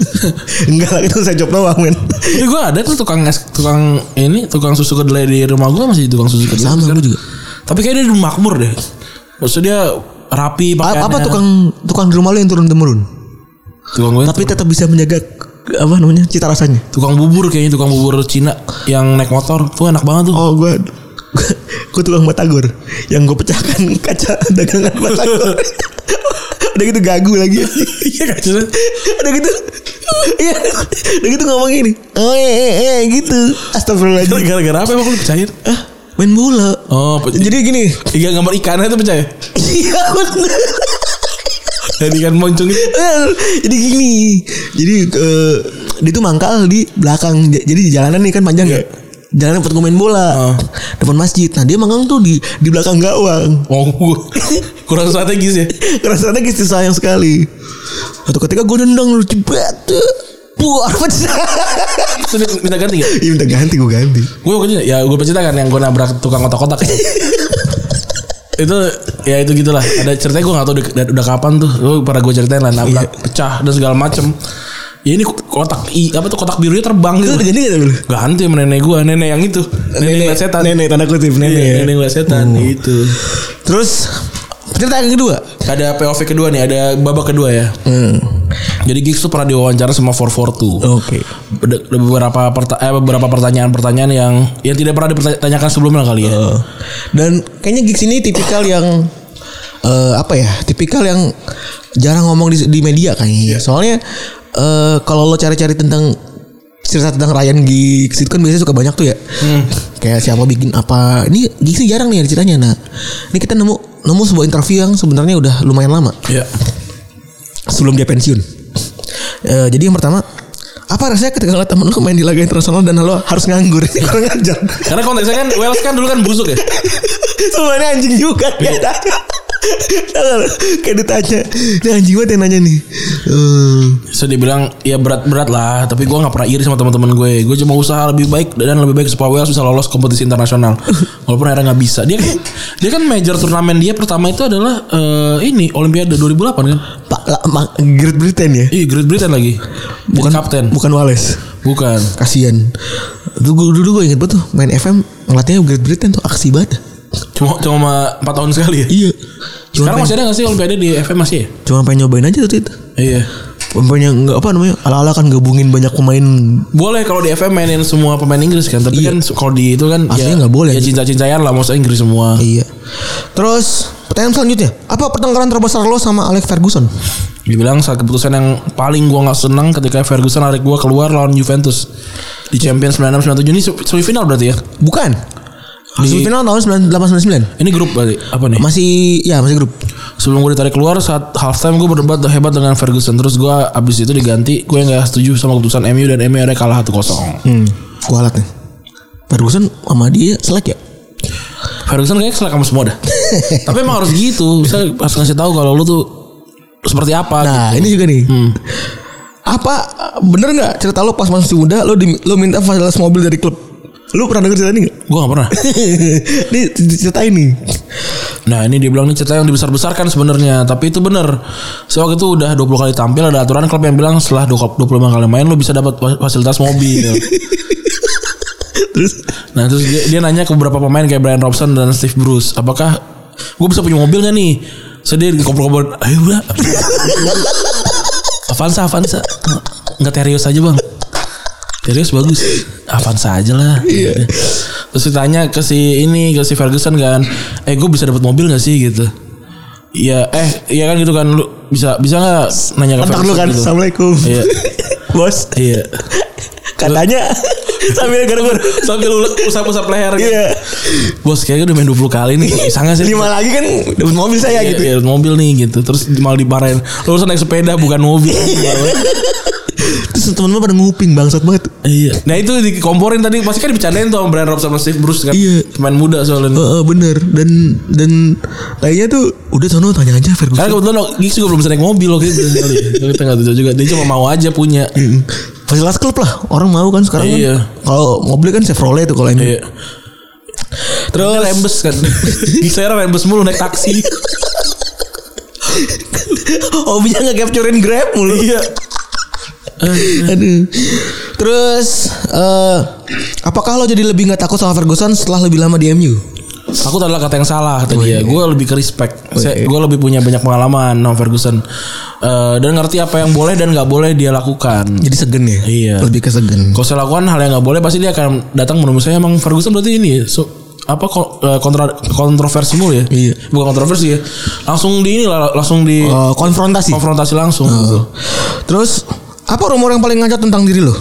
enggak lah itu saya job doang men
Ini gue ada tuh tukang es, tukang ini tukang susu kedelai di rumah gue masih tukang susu kedelai.
Sama, gua
sekarang.
juga.
Tapi kayaknya dia makmur deh. Maksudnya dia rapi
A-
pakaiannya.
apa tukang tukang di rumah lu yang turun temurun
Tukang gue
tapi tetap bisa menjaga apa namanya cita rasanya
tukang bubur kayaknya tukang bubur Cina yang naik motor tuh enak banget tuh.
oh gua gue tukang batagor yang gue pecahkan kaca dagangan batagor udah gitu gagu lagi
Iya kan?
udah gitu iya udah gitu ngomong gini oh eh eh, eh gitu astagfirullahaladzim
Gara-gara apa emang lu percaya?
ah main bola
Oh, pe-
jadi gini
iya gambar ikannya tuh percaya.
iya bener.
Dari ikan moncong itu.
jadi gini jadi eh, dia tuh mangkal di belakang J- jadi di jalanan nih kan panjang ya
Iya.
jalanan buat main bola
Ah.
depan masjid nah dia mangkal tuh di di belakang gawang
Oh, gue kurang strategis ya.
rasanya kisah sayang sekali satu ketika gue nendang lu jebret tuh. Puh, apa sih?
Terus dia minta ganti gak?
Iya minta ganti gue ganti.
Gue pokoknya ya gue pencerita kan yang gue nabrak tukang kotak-kotak itu ya itu gitulah ada ceritanya gue gak tau udah, udah kapan tuh gue pada gue ceritain lah nabrak
Iya.
pecah dan segala macem ya ini kotak i apa tuh kotak birunya terbang
Itu udah
gitu
ganti gak lu?
ganti sama nenek gue nenek yang itu nenek, nenek setan
Nenek tanda kutip nenek.
Iya,
ya.
nenek ngeliat setan itu
Terus cerita yang kedua.
ada POV kedua nih ada babak kedua ya
Hmm. Oh.
jadi Giggs tuh pernah diwawancara sama 442
Oke.
Ada- ada beberapa perta eh, beberapa pertanyaan-pertanyaan yang yang tidak pernah ditanyakan sebelumnya kali ya.
Eh, Dan kayaknya gigs ini tipikal yang eh, apa ya? Tipikal yang jarang ngomong di, di media kayaknya. Soalnya eh, kalau lo cari-cari tentang cerita tentang Ryan Giggs itu kan biasanya suka banyak tuh ya. Kayak siapa bikin apa. Ini Giggs ini jarang nih ada ceritanya. Nah, ini kita nemu nemu sebuah interview yang sebenarnya udah lumayan lama
Iya.
sebelum dia pensiun. Eh, jadi yang pertama apa rasanya ketika ngeliat temen lu main di laga internasional dan lo harus nganggur ini kurang ajar
Karena konteksnya kan Wales kan dulu kan busuk ya.
sebenarnya anjing juga
Iya.
ya Tahu nggak lu? kayak ditanya ini anjing banget yang nanya nih Eh,
So dia bilang ya berat-berat lah, tapi gua nggak pernah iri sama teman-teman gue. Gue cuma usaha lebih baik dan lebih baik supaya Wales bisa lolos kompetisi internasional. Walaupun akhirnya nggak bisa. Dia kan dia kan major turnamen dia pertama itu adalah eh, ini Olimpiade 2008 kan.
Pak La- Ma- Great Britain ya
Iya Great Britain lagi. Bukan kapten.
bukan Wales
Bukan.
kasian Tuh, gua- dulu gue inget banget tuh main FM ngelatihnya Great Britain tuh aksi banget
Cuma cuma 4 tahun sekali ya.
iya cuma
Sekarang
pengen,
masih ada nggak sih Olimpiade di FM masih ya?
cuma pengen nyobain aja tuh itu
Iya.
pemain yang nggak apa namanya ala-ala kan gabungin banyak pemain
Boleh kalau di FM mainin semua pemain Inggris kan, tapi kan su- kalau di itu kan
Iya. Aslinya
ya,
nggak boleh.
Ya cinta-cintaan lah, maksudnya Inggris semua.
Iya. Terus pertanyaan selanjutnya, apa pertengkaran terbesar lo sama Alex Ferguson?
Dibilang saat keputusan yang paling gua nggak senang ketika Ferguson narik gua keluar lawan Juventus di Champions 96 97 ini se- semifinal berarti ya.
Bukan. Hasil final tahun 9899.
Ini grup berarti apa nih?
Masih ya masih grup.
Sebelum gue ditarik keluar saat halftime gue berdebat hebat dengan Ferguson terus gua abis itu diganti gue nggak setuju sama keputusan MU dan MU ada kalah 1-0.
Hmm. Gua alat nih. Ferguson sama dia selek ya?
Ferguson kayaknya selek sama semua dah. Tapi emang harus gitu. Saya harus ngasih tahu kalau lu tuh seperti apa.
Nah, ini juga nih.
Hmm.
Apa bener nggak cerita lo pas masih muda lo di, lo minta fasilitas mobil dari klub? Lu pernah denger cerita ini gak?
Gue gak pernah.
ini ceritain nih.
Nah ini dia bilang ini cerita yang dibesar-besarkan sebenarnya Tapi itu bener So waktu itu udah 20 kali tampil Ada aturan klub yang bilang setelah 20 25 kali main Lo bisa dapat fa- fasilitas mobil gitu.
Terus
Nah terus dia, dia nanya ke beberapa pemain Kayak Brian Robson dan Steve Bruce Apakah gue bisa punya mobil gak nih So dia dikompor-kompor Ayo udah Avanza Avanza Nggak Terios aja bang Terios bagus Avanza aja lah
Iya.
Terus ditanya ke si ini ke si Ferguson kan, eh gue bisa dapat mobil gak sih gitu? Iya eh iya kan gitu kan lu bisa bisa nggak nanya
kontak
ke
lu
Ferguson
kan.
gitu?
Assalamualaikum.
Iya
Bos,
iya
katanya sambil garuk
sambil ulek usap-usap leher gitu.
Iya.
Bos kayaknya udah main 20 kali nih Bisa gak sih
Lima lagi kan dapat mobil saya
Iya,
gitu.
iya, mobil nih gitu Terus malah dimarahin Lu harus naik sepeda bukan mobil
Terus temen-temen pada nguping bangsat banget.
Iya Nah itu dikomporin tadi Pasti kan dibicarain tuh sama Brian Robson sama Steve Bruce kan
Iya.
Pemain muda soalnya
Heeh, bener dan dan lainnya tuh udah sono tanya aja
Karena
Ferguson.
kebetulan Giggs juga belum bisa naik mobil waktu itu kali. Kita gak tahu juga Dia cuma mau aja punya
Mm-mm. Fasilitas klub lah orang mau kan sekarang
Iya.
kan. Kalau mobil kan Chevrolet tuh kalau ini.
Iya. Terus rembes kan. Saya rembes mulu naik taksi.
Hobinya nge-capturein Grab mulu. Iya. Aduh. Terus eh, apakah lo jadi lebih nggak takut sama Ferguson setelah lebih lama di MU?
Aku adalah kata yang
Oh,
salah kata
iya.
dia. Gue lebih ke respect. Saya, gue lebih punya banyak pengalaman sama Ferguson. Eh, dan ngerti apa yang boleh dan nggak boleh dia lakukan.
Jadi segen ya?
Iya.
Lebih ke segen.
Kalau saya lakukan hal yang nggak boleh pasti dia akan datang menurut saya emang Ferguson berarti ini ya, so, apa ko- eh, kontra, kontroversi mulu ya?
Iya.
Bukan kontroversi ya. Langsung di ini lah langsung di
Eh, konfrontasi. Eh.
konfrontasi langsung
Oh.
gitu.
Terus apa rumor yang paling ngacau tentang diri lo?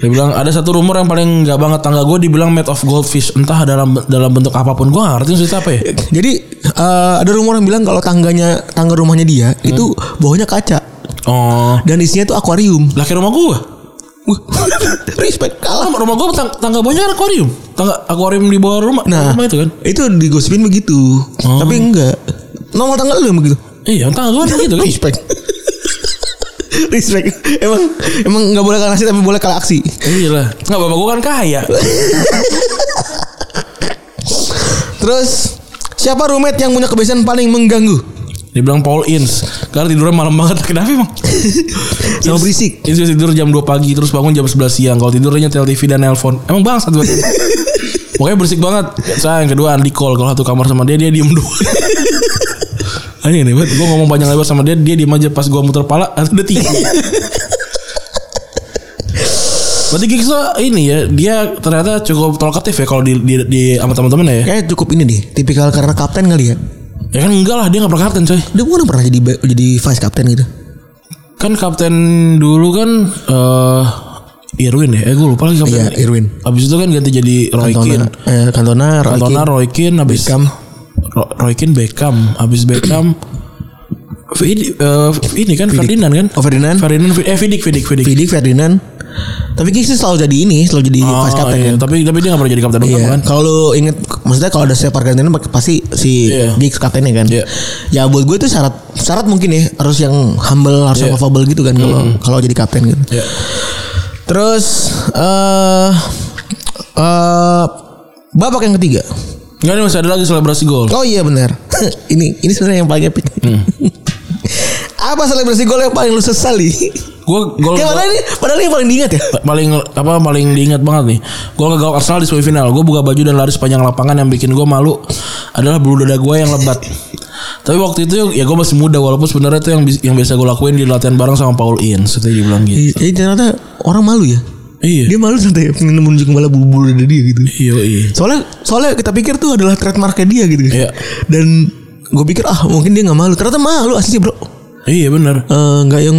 Dia bilang ada satu rumor yang paling nggak banget tangga gue dibilang made of goldfish entah dalam dalam bentuk apapun gue nggak ngerti maksudnya apa ya.
Jadi eh, ada rumor yang bilang kalau tangganya tangga rumahnya dia itu bawahnya kaca
Oh,
dan isinya tuh akuarium.
lah kayak rumah gue.
Wah, Respect kalah.
Rumah, rumah gue tang- tangga bawahnya kan akuarium. Tangga akuarium di bawah rumah.
Nah,
rumah itu kan. Oh.
Itu digosipin begitu. Tapi enggak. Nomor tangga lu yang begitu.
kan? Iya, tangga gue gitu kan.
Respect. Respect. Emang emang nggak boleh kalah aksi tapi boleh kalah aksi.
Iya lah. Enggak bapak gue kan kaya.
Terus siapa roommate yang punya kebiasaan paling mengganggu?
Dibilang Paul Ince Karena tidurnya malam banget Kenapa emang?
Sama berisik.
Ince biasa tidur jam 2 pagi Terus bangun jam 11 siang Kalau tidurnya nyetel TV dan nelpon Emang bangsat banget Pokoknya berisik banget Saya yang kedua Andi call Kalau satu kamar sama dia Dia diem dulu Aneh nih banget Gue ngomong panjang lebar sama dia Dia diem aja Pas gue muter pala Atau udah tiga Berarti Gigsa ini ya Dia ternyata cukup talkative ya Kalau di, di, di sama teman-teman ya
Kayaknya Eh, cukup ini nih, tipikal karena kapten kali ya.
Ya kan enggak lah Dia gak pernah kapten coy
Dia bukan pernah jadi jadi vice kapten gitu.
Kan kapten dulu kan eh Irwin ya Eh gue lupa lagi kapten
Iya, Irwin.
Abis itu kan ganti jadi Roy Keane
Kantona, eh, Kantona, Roy
Kantona
Keane,
Roy Keane Abis
Beckham.
Ro- Roy Keane Beckham Abis Beckham Vidi, eh, ini kan Ferdinand kan
Oh, Ferdinand.
Ferdinand eh Vidik Vidik Vidik
Vidic, Ferdinand. Tapi Giggs selalu jadi ini, selalu jadi
Oh,
vice captain
iya.
kan.
tapi tapi dia gak pernah jadi kapten utama
Iya.
kan
Kalau lu inget, maksudnya kalau ada siapa pergantian pasti si
Iya.
Giggs kaptennya kan.
Iya.
Ya buat gue itu syarat syarat mungkin ya harus yang humble, harus yang lovable gitu kan kalau kalau jadi kapten gitu.
Iya.
Terus eh eh babak yang ketiga.
Enggak ini masih ada lagi selebrasi gol
Oh iya benar. ini ini sebenarnya yang paling epic.
Hmm.
Apa selebrasi gol yang paling lu sesali?
Gue gol
Kayak padahal ini padahal ini yang paling diingat ya.
paling apa paling diingat banget nih gol kegawang Arsenal di semifinal gue buka baju dan lari sepanjang lapangan yang bikin gue malu adalah bulu dada gue yang lebat tapi waktu itu ya gue masih muda walaupun sebenarnya itu yang bi- yang biasa gue lakuin di latihan bareng sama Paul Ince itu dibilang gitu
Jadi Iya, ternyata orang malu ya.
iya
Dia malu sampai menunjuk kepala bulu-bulu dada dia gitu.
iya iya
Soalnya soalnya kita pikir tuh adalah trademarknya dia gitu.
Iya.
Dan gue pikir ah mungkin dia nggak malu. Ternyata malu asli bro.
iya benar
Eh, Nggak yang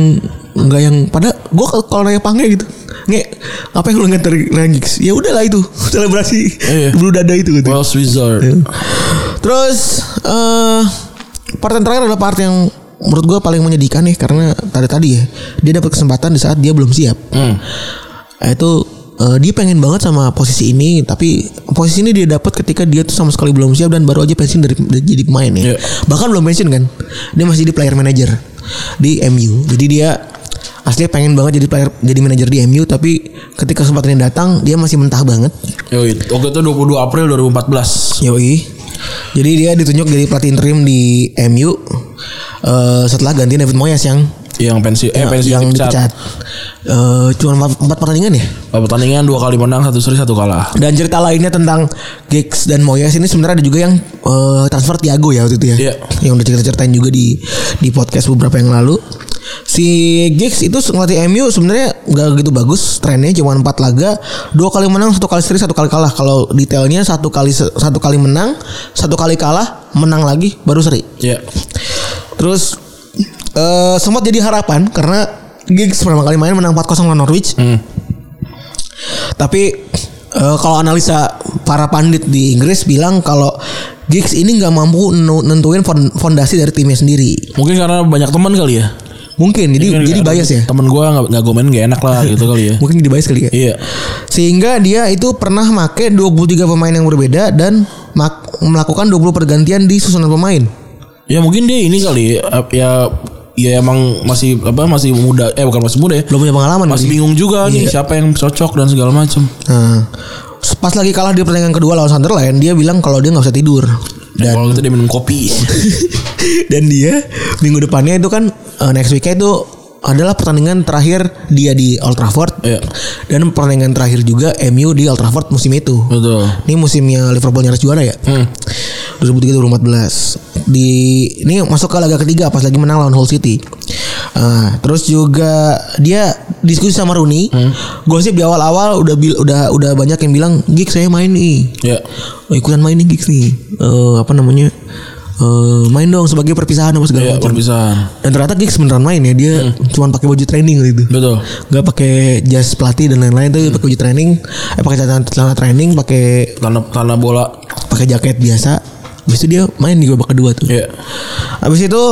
nggak yang pada gue kalau nanya pange gitu nge apa yang lu nggak dari Ryan Giggs? ya udahlah itu selebrasi
Iya.
bulu dada itu gitu
Welsh Wizard
terus eh part yang terakhir adalah part yang menurut gue paling menyedihkan nih karena tadi tadi ya dia dapat kesempatan di saat dia belum siap
hmm.
Nah, itu eh, dia pengen banget sama posisi ini tapi posisi ini dia dapat ketika dia tuh sama sekali belum siap dan baru aja pensiun dari dari jadi pemain ya
Iya.
bahkan belum pensiun kan dia masih di player manager di MU jadi dia aslinya pengen banget jadi player jadi manajer di MU tapi ketika kesempatan yang datang dia masih mentah banget
Yo, waktu itu 22 April 2014
Yoi. Jadi dia ditunjuk jadi pelatih interim di MU eh, setelah ganti David Moyes yang
yang pensi eh pensi
yang dipecat. Eh, cuma empat- empat pertandingan ya.
pertandingan dua kali menang satu seri satu kalah
Dan cerita lainnya tentang Giggs dan Moyes ini sebenarnya ada juga yang eh, transfer Thiago ya waktu itu ya.
Iya.
Yang udah cerita-ceritain juga di di podcast beberapa yang lalu. Si Giggs itu ngelatih MU sebenarnya nggak gitu bagus trennya cuma 4 laga, dua kali menang, satu kali seri, satu kali kalah. Kalau detailnya satu kali satu kali menang, satu kali kalah, menang lagi baru seri.
ya
Terus eh sempat jadi harapan karena Giggs pertama kali main menang 4-0 lawan Norwich. Tapi eh, kalau analisa para pandit di Inggris bilang kalau Giggs ini nggak mampu nu- nentuin fon- fondasi dari timnya sendiri.
mungkin karena banyak teman kali ya
Mungkin jadi
Kan
jadi
ada
bias ya.
temen gue nggak nggak gomen nggak enak lah gitu kali ya
Mungkin jadi bias kali ya.
iya
Sehingga dia itu pernah make 23 pemain yang berbeda dan mak- melakukan 20 pergantian di susunan pemain.
ya mungkin dia ini kali ya ya, ya emang masih apa masih muda eh bukan masih muda ya
Belum punya pengalaman
masih
kali.
bingung juga nih siapa yang cocok dan segala macam
Nah, pas lagi kalah di pertandingan kedua lawan Sunderland, dia bilang kalau dia nggak bisa tidur.
dan kalau itu dia minum kopi
Dan dia minggu depannya itu kan eh, next weeknya itu adalah pertandingan terakhir dia di Old Trafford.
Iya.
Dan pertandingan terakhir juga MU di Old Trafford musim itu.
betul
Ini musimnya Liverpool nyaris juara ya.
hmm.
2003-2014 di ini masuk ke laga ketiga pas lagi menang lawan Hull City. Ah, terus juga dia diskusi sama Rooney. Gosip di awal-awal udah bil- udah udah banyak yang bilang Gig saya main nih.
ya
Oh, ikutan main nih Giggs nih. Eh, apa namanya? Eh, main dong sebagai perpisahan apa segala
ya
macam.
perpisahan
Dan ternyata Giggs beneran main ya. Dia cuman pakai baju training waktu itu.
betul
Gak pakai jas pelatih dan lain-lain tuh pakai baju training, eh, pakai celana, celana training, pakai
tanah tanah bola
pakai jaket biasa. Habis itu dia main di babak kedua tuh.
ya
Habis itu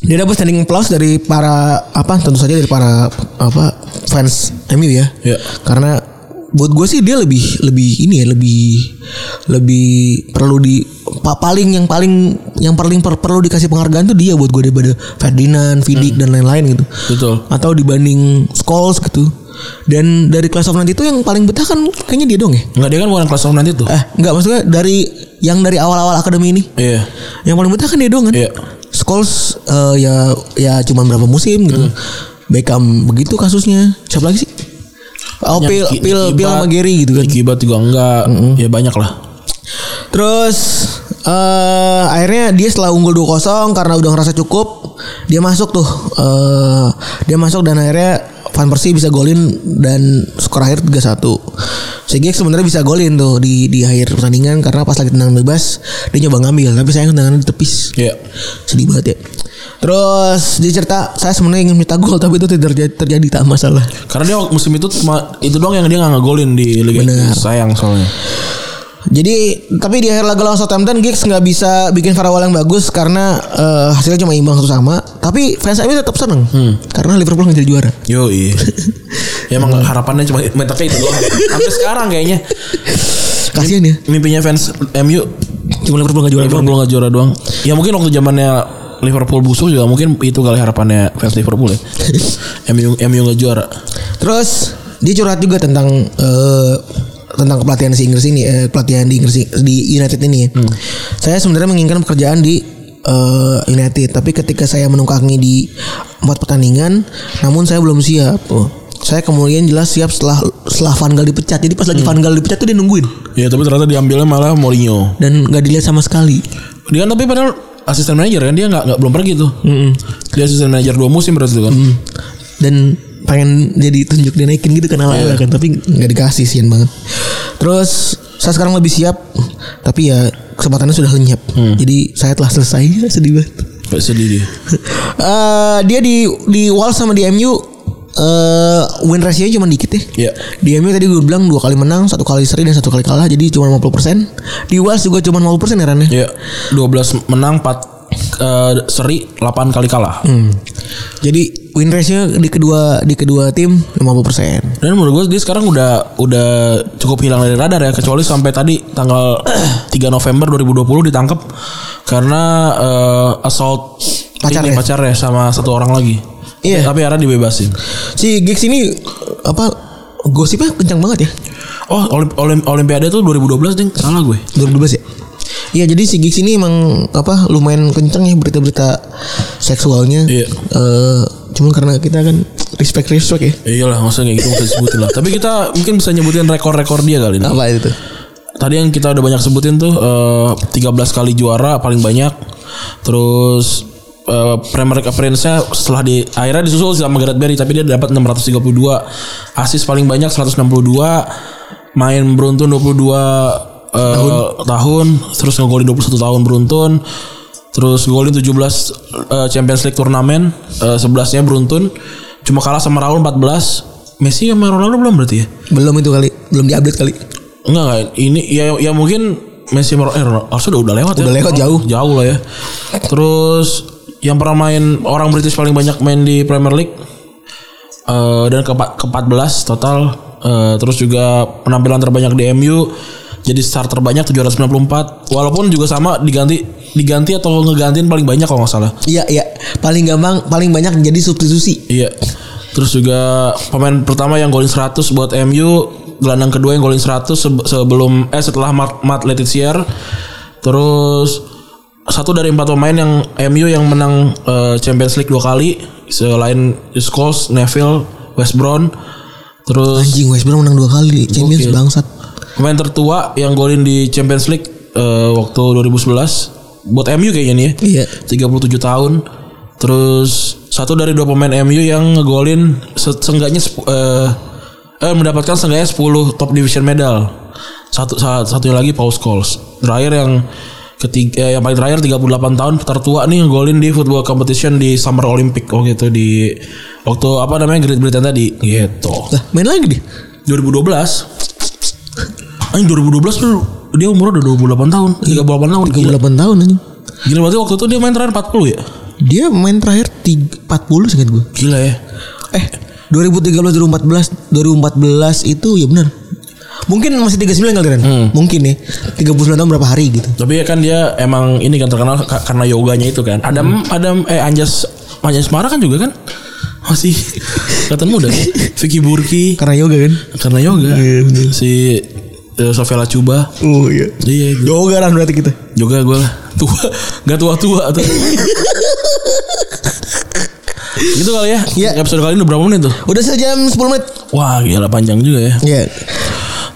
dia dapat standing applause dari para apa tentu saja dari para apa fans MU ya.
Iya.
Karena buat gue sih dia lebih lebih ini ya lebih lebih perlu di pa- paling yang paling yang paling per- perlu dikasih penghargaan tuh dia buat gue daripada Ferdinand, Vidic dan lain-lain gitu.
Betul.
Atau dibanding Scholes gitu. Dan dari Class of nanti itu yang paling betah kan kayaknya dia dong ya.
Enggak dia kan bukan kelas nanti tuh.
Eh, enggak maksudnya dari yang dari awal-awal akademi ini.
Iya.
Yang paling betah kan dia doang kan.
Iya.
Scholes eh, ya ya cuman berapa musim gitu. Beckham begitu kasusnya. Siapa lagi sih? Oh, Pil,
Nicky-
Pil,
Nicky
Pil
Butt,
sama Gary gitu kan.
Nicky Butt juga enggak. Ya banyak lah.
Terus eh akhirnya dia setelah unggul 2-0 karena udah ngerasa cukup, dia masuk tuh. eh dia masuk dan akhirnya Van Persie bisa golin dan skor akhir 3-1. Sigik sebenarnya bisa golin tuh di di akhir pertandingan karena pas lagi tendangan bebas dia nyoba ngambil tapi sayang tendangannya ditepis.
Iya.
Sedih banget ya. Terus dia cerita saya sebenarnya ingin minta gol tapi itu tidak terjadi, terjadi tak masalah.
Karena dia musim itu cuma itu doang yang dia nggak ngegolin di Liga
Bener.
Inggris. Sayang soalnya.
Jadi tapi di akhir laga lawan Southampton Giggs nggak bisa bikin farawal yang bagus karena eh, hasilnya cuma imbang satu sama. Tapi fans MU tetap seneng karena Liverpool nggak jadi juara.
Yo iya. ya emang harapannya cuma mentaknya itu doang. Sampai sekarang kayaknya
Kasian ya.
mimpinya fans MU
Cuma Liverpool nggak juara.
Liverpool nggak juara doang. Ya mungkin waktu zamannya Liverpool busuk juga mungkin itu kali harapannya fans Liverpool ya. MU MU nggak juara.
Terus dia curhat juga tentang eh, tentang kepelatihan si Inggris ini, eh, pelatihan di Inggris di United ini. Saya sebenarnya menginginkan pekerjaan di eh, United, tapi ketika saya menungkangi di empat pertandingan, namun saya belum siap. Oh. Saya kemudian jelas siap setelah setelah Van Gaal dipecat. Jadi pas lagi Van Gaal dipecat tuh dia nungguin
Ya tapi ternyata diambilnya malah Mourinho.
dan nggak dilihat sama sekali.
Dia kan tapi padahal asisten manajer kan dia nggak nggak belum pergi tuh. Dia asisten manajer dua musim berarti tuh kan.
dan pengen jadi tunjuk dinaikin gitu kan ala
Iya.
kan tapi nggak dikasih sian banget terus saya sekarang lebih siap tapi ya kesempatannya sudah lenyap
Hmm.
jadi saya telah selesai sedih banget
Kayak sedih dia.
Eh, dia di di Wolves sama di MU eh win ratio cuma dikit ya
Iya.
di MU tadi gue bilang dua kali menang satu kali seri dan satu kali kalah jadi cuma 50% di Wolves juga cuma 50% ya Ran, ya?
Iya. 12 menang 4 seri 8 kali kalah.
Mm. jadi win ratio di kedua di kedua tim 50%
Dan menurut gue dia sekarang udah udah cukup hilang dari radar ya kecuali sampai tadi tanggal 3 November 2020 ditangkap karena eh, assault
Pacarnya.
ini, pacarnya sama satu orang lagi.
ya? Iya.
Tapi akhirnya dibebasin.
Si Giggs ini apa gosipnya kencang banget ya.
Oh, Olim- Olim- Olimpiade tuh 2012 ding. Salah gue.
2012 ya. Iya jadi si Giggs ini emang apa lumayan kencang ya berita-berita seksualnya.
Iya.
Eh, cuman karena kita kan respect respect ya.
Ya iyalah maksudnya kayak gitu bisa disebutin lah. Tapi kita mungkin bisa nyebutin rekor-rekor dia kali ini.
Apa itu?
Tadi yang kita udah banyak sebutin tuh eh, 13 kali juara paling banyak. Terus eh, Premier League appearance-nya setelah di akhirnya disusul sama Gareth Barry tapi dia dapat 632 asis paling banyak 162 main beruntun 22 eh, tahun. terus ngegolin 21 tahun beruntun terus ngegolin 17 eh, Champions League turnamen eh, 11-nya beruntun cuma kalah sama Raul 14 Messi sama Ronaldo belum berarti ya
Belum itu kali, belum diupdate kali.
Enggak enggak ini ya ya mungkin Messi Ronaldo eh, Ronaldo- harusnya udah, udah lewat ya.
Udah lewat, jauh.
Jauh lah ya. Terus yang pernah main orang British paling banyak main di Premier League eh dan ke, ke 14 total Eh, terus juga penampilan terbanyak di MU jadi start terbanyak 794 walaupun juga sama diganti diganti atau ngegantiin paling banyak kalau nggak salah
Iya iya paling gampang paling banyak jadi substitusi.
Iya. Terus juga pemain pertama yang golin 100 buat MU, gelandang kedua yang golin 100 sebe- sebelum eh setelah Matt, Matt Letizier. Terus satu dari empat pemain yang MU yang menang eh, Champions League dua kali selain Scholes, Neville, West Brom. Terus
Anjing West Brom menang dua kali Champions bangsat.
pemain tertua yang golin di Champions League eh, waktu 2011 buat MU kayaknya nih ya.
Iya.
37 tahun. Terus satu dari dua pemain MU yang ngegolin se- seenggaknya sep- eh, eh, mendapatkan seenggaknya 10 top division medal. Satu sa- satunya lagi Paul Scholes. Terakhir yang ketiga eh, yang paling terakhir 38 tahun tertua nih ngegolin di football competition di Summer Olympic oh gitu di waktu apa namanya Great Britain tadi gitu.
Lah main lagi deh.
2012 Anjing 2012 tuh dia umurnya udah 28 tahun 38 tahun gila.
38 tahun anjing.
gila berarti waktu itu dia main terakhir 40 ya
Dia main terakhir tiga- 40 seingat gue.
Gila ya
Eh 2013 2014 2014 itu ya benar. Mungkin masih 39 kali Ren. Mungkin ya, nih. 39 tahun berapa hari gitu.
Tapi ya kan dia emang ini kan terkenal ka- karena yoganya itu kan.
Hmm.
Adam Adam eh Anjas Anjas Mara kan juga kan masih kelihatan muda. kan? Vicky Burki
Karena yoga kan.
karena yoga.
Iya, bener.
Si eh, Sofia Cuba.
Oh iya.
Iya itu.
Yoga Ran berarti kita.
Yoga gue lah tua, nggak tua tua tuh. gitu kali ya.
Iya.
Episode kali ini udah berapa menit tuh?
Udah sejam 10 menit.
Wah gila panjang juga ya.
Iya.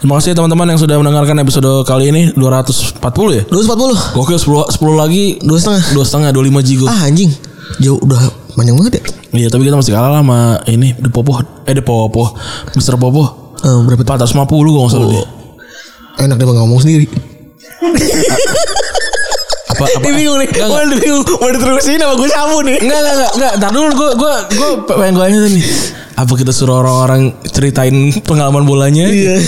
Terima kasih ya teman-teman yang sudah mendengarkan episode kali ini 240 ya.
240.
Gokil 10, 10 lagi
Dua setengah.
dua setengah dua lima jigo.
Ah anjing. Jauh udah panjang banget ya.
Iya tapi kita masih kalah lah sama ini The Popo eh The Popo Mister Popo
Eh, berapa tuh?
450 kalau nggak salah dia.
Enak deh Bang, ngomong sendiri.
Apa apa?
Dia bingung nih.
Enggak,
Mau dibingung, mau diterusin apa gue samu nih.
Enggak enggak enggak enggak. Ntar dulu gue gue gue pengen gue aja nih. Apa kita suruh orang-orang ceritain pengalaman bolanya?
Iya.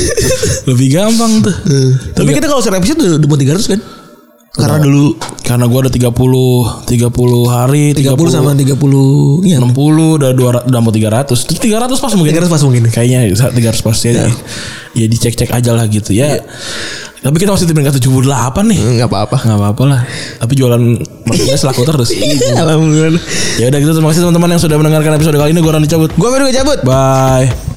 Lebih gampang tuh.
Tapi kita kalau share episode udah, udah mau 300 kan? Karena dulu
Karena gue ada 30 30 hari
30 sama 30 iya
60 udah 200 udah mau 300. Itu 300 pas mungkin.
300 pas mungkin.
Kayaknya 300 pas ya. Ya dicek-cek aja lah gitu ya. Tapi kita masih di peringkat 78 nih.
Enggak apa-apa.
Nggak apa-apa lah. Tapi jualan merchandise laku terus.
Alhamdulillah.
ya udah gitu terima kasih teman-teman yang sudah mendengarkan episode kali ini. Gue Rani cabut.
Gue baru cabut.
Bye.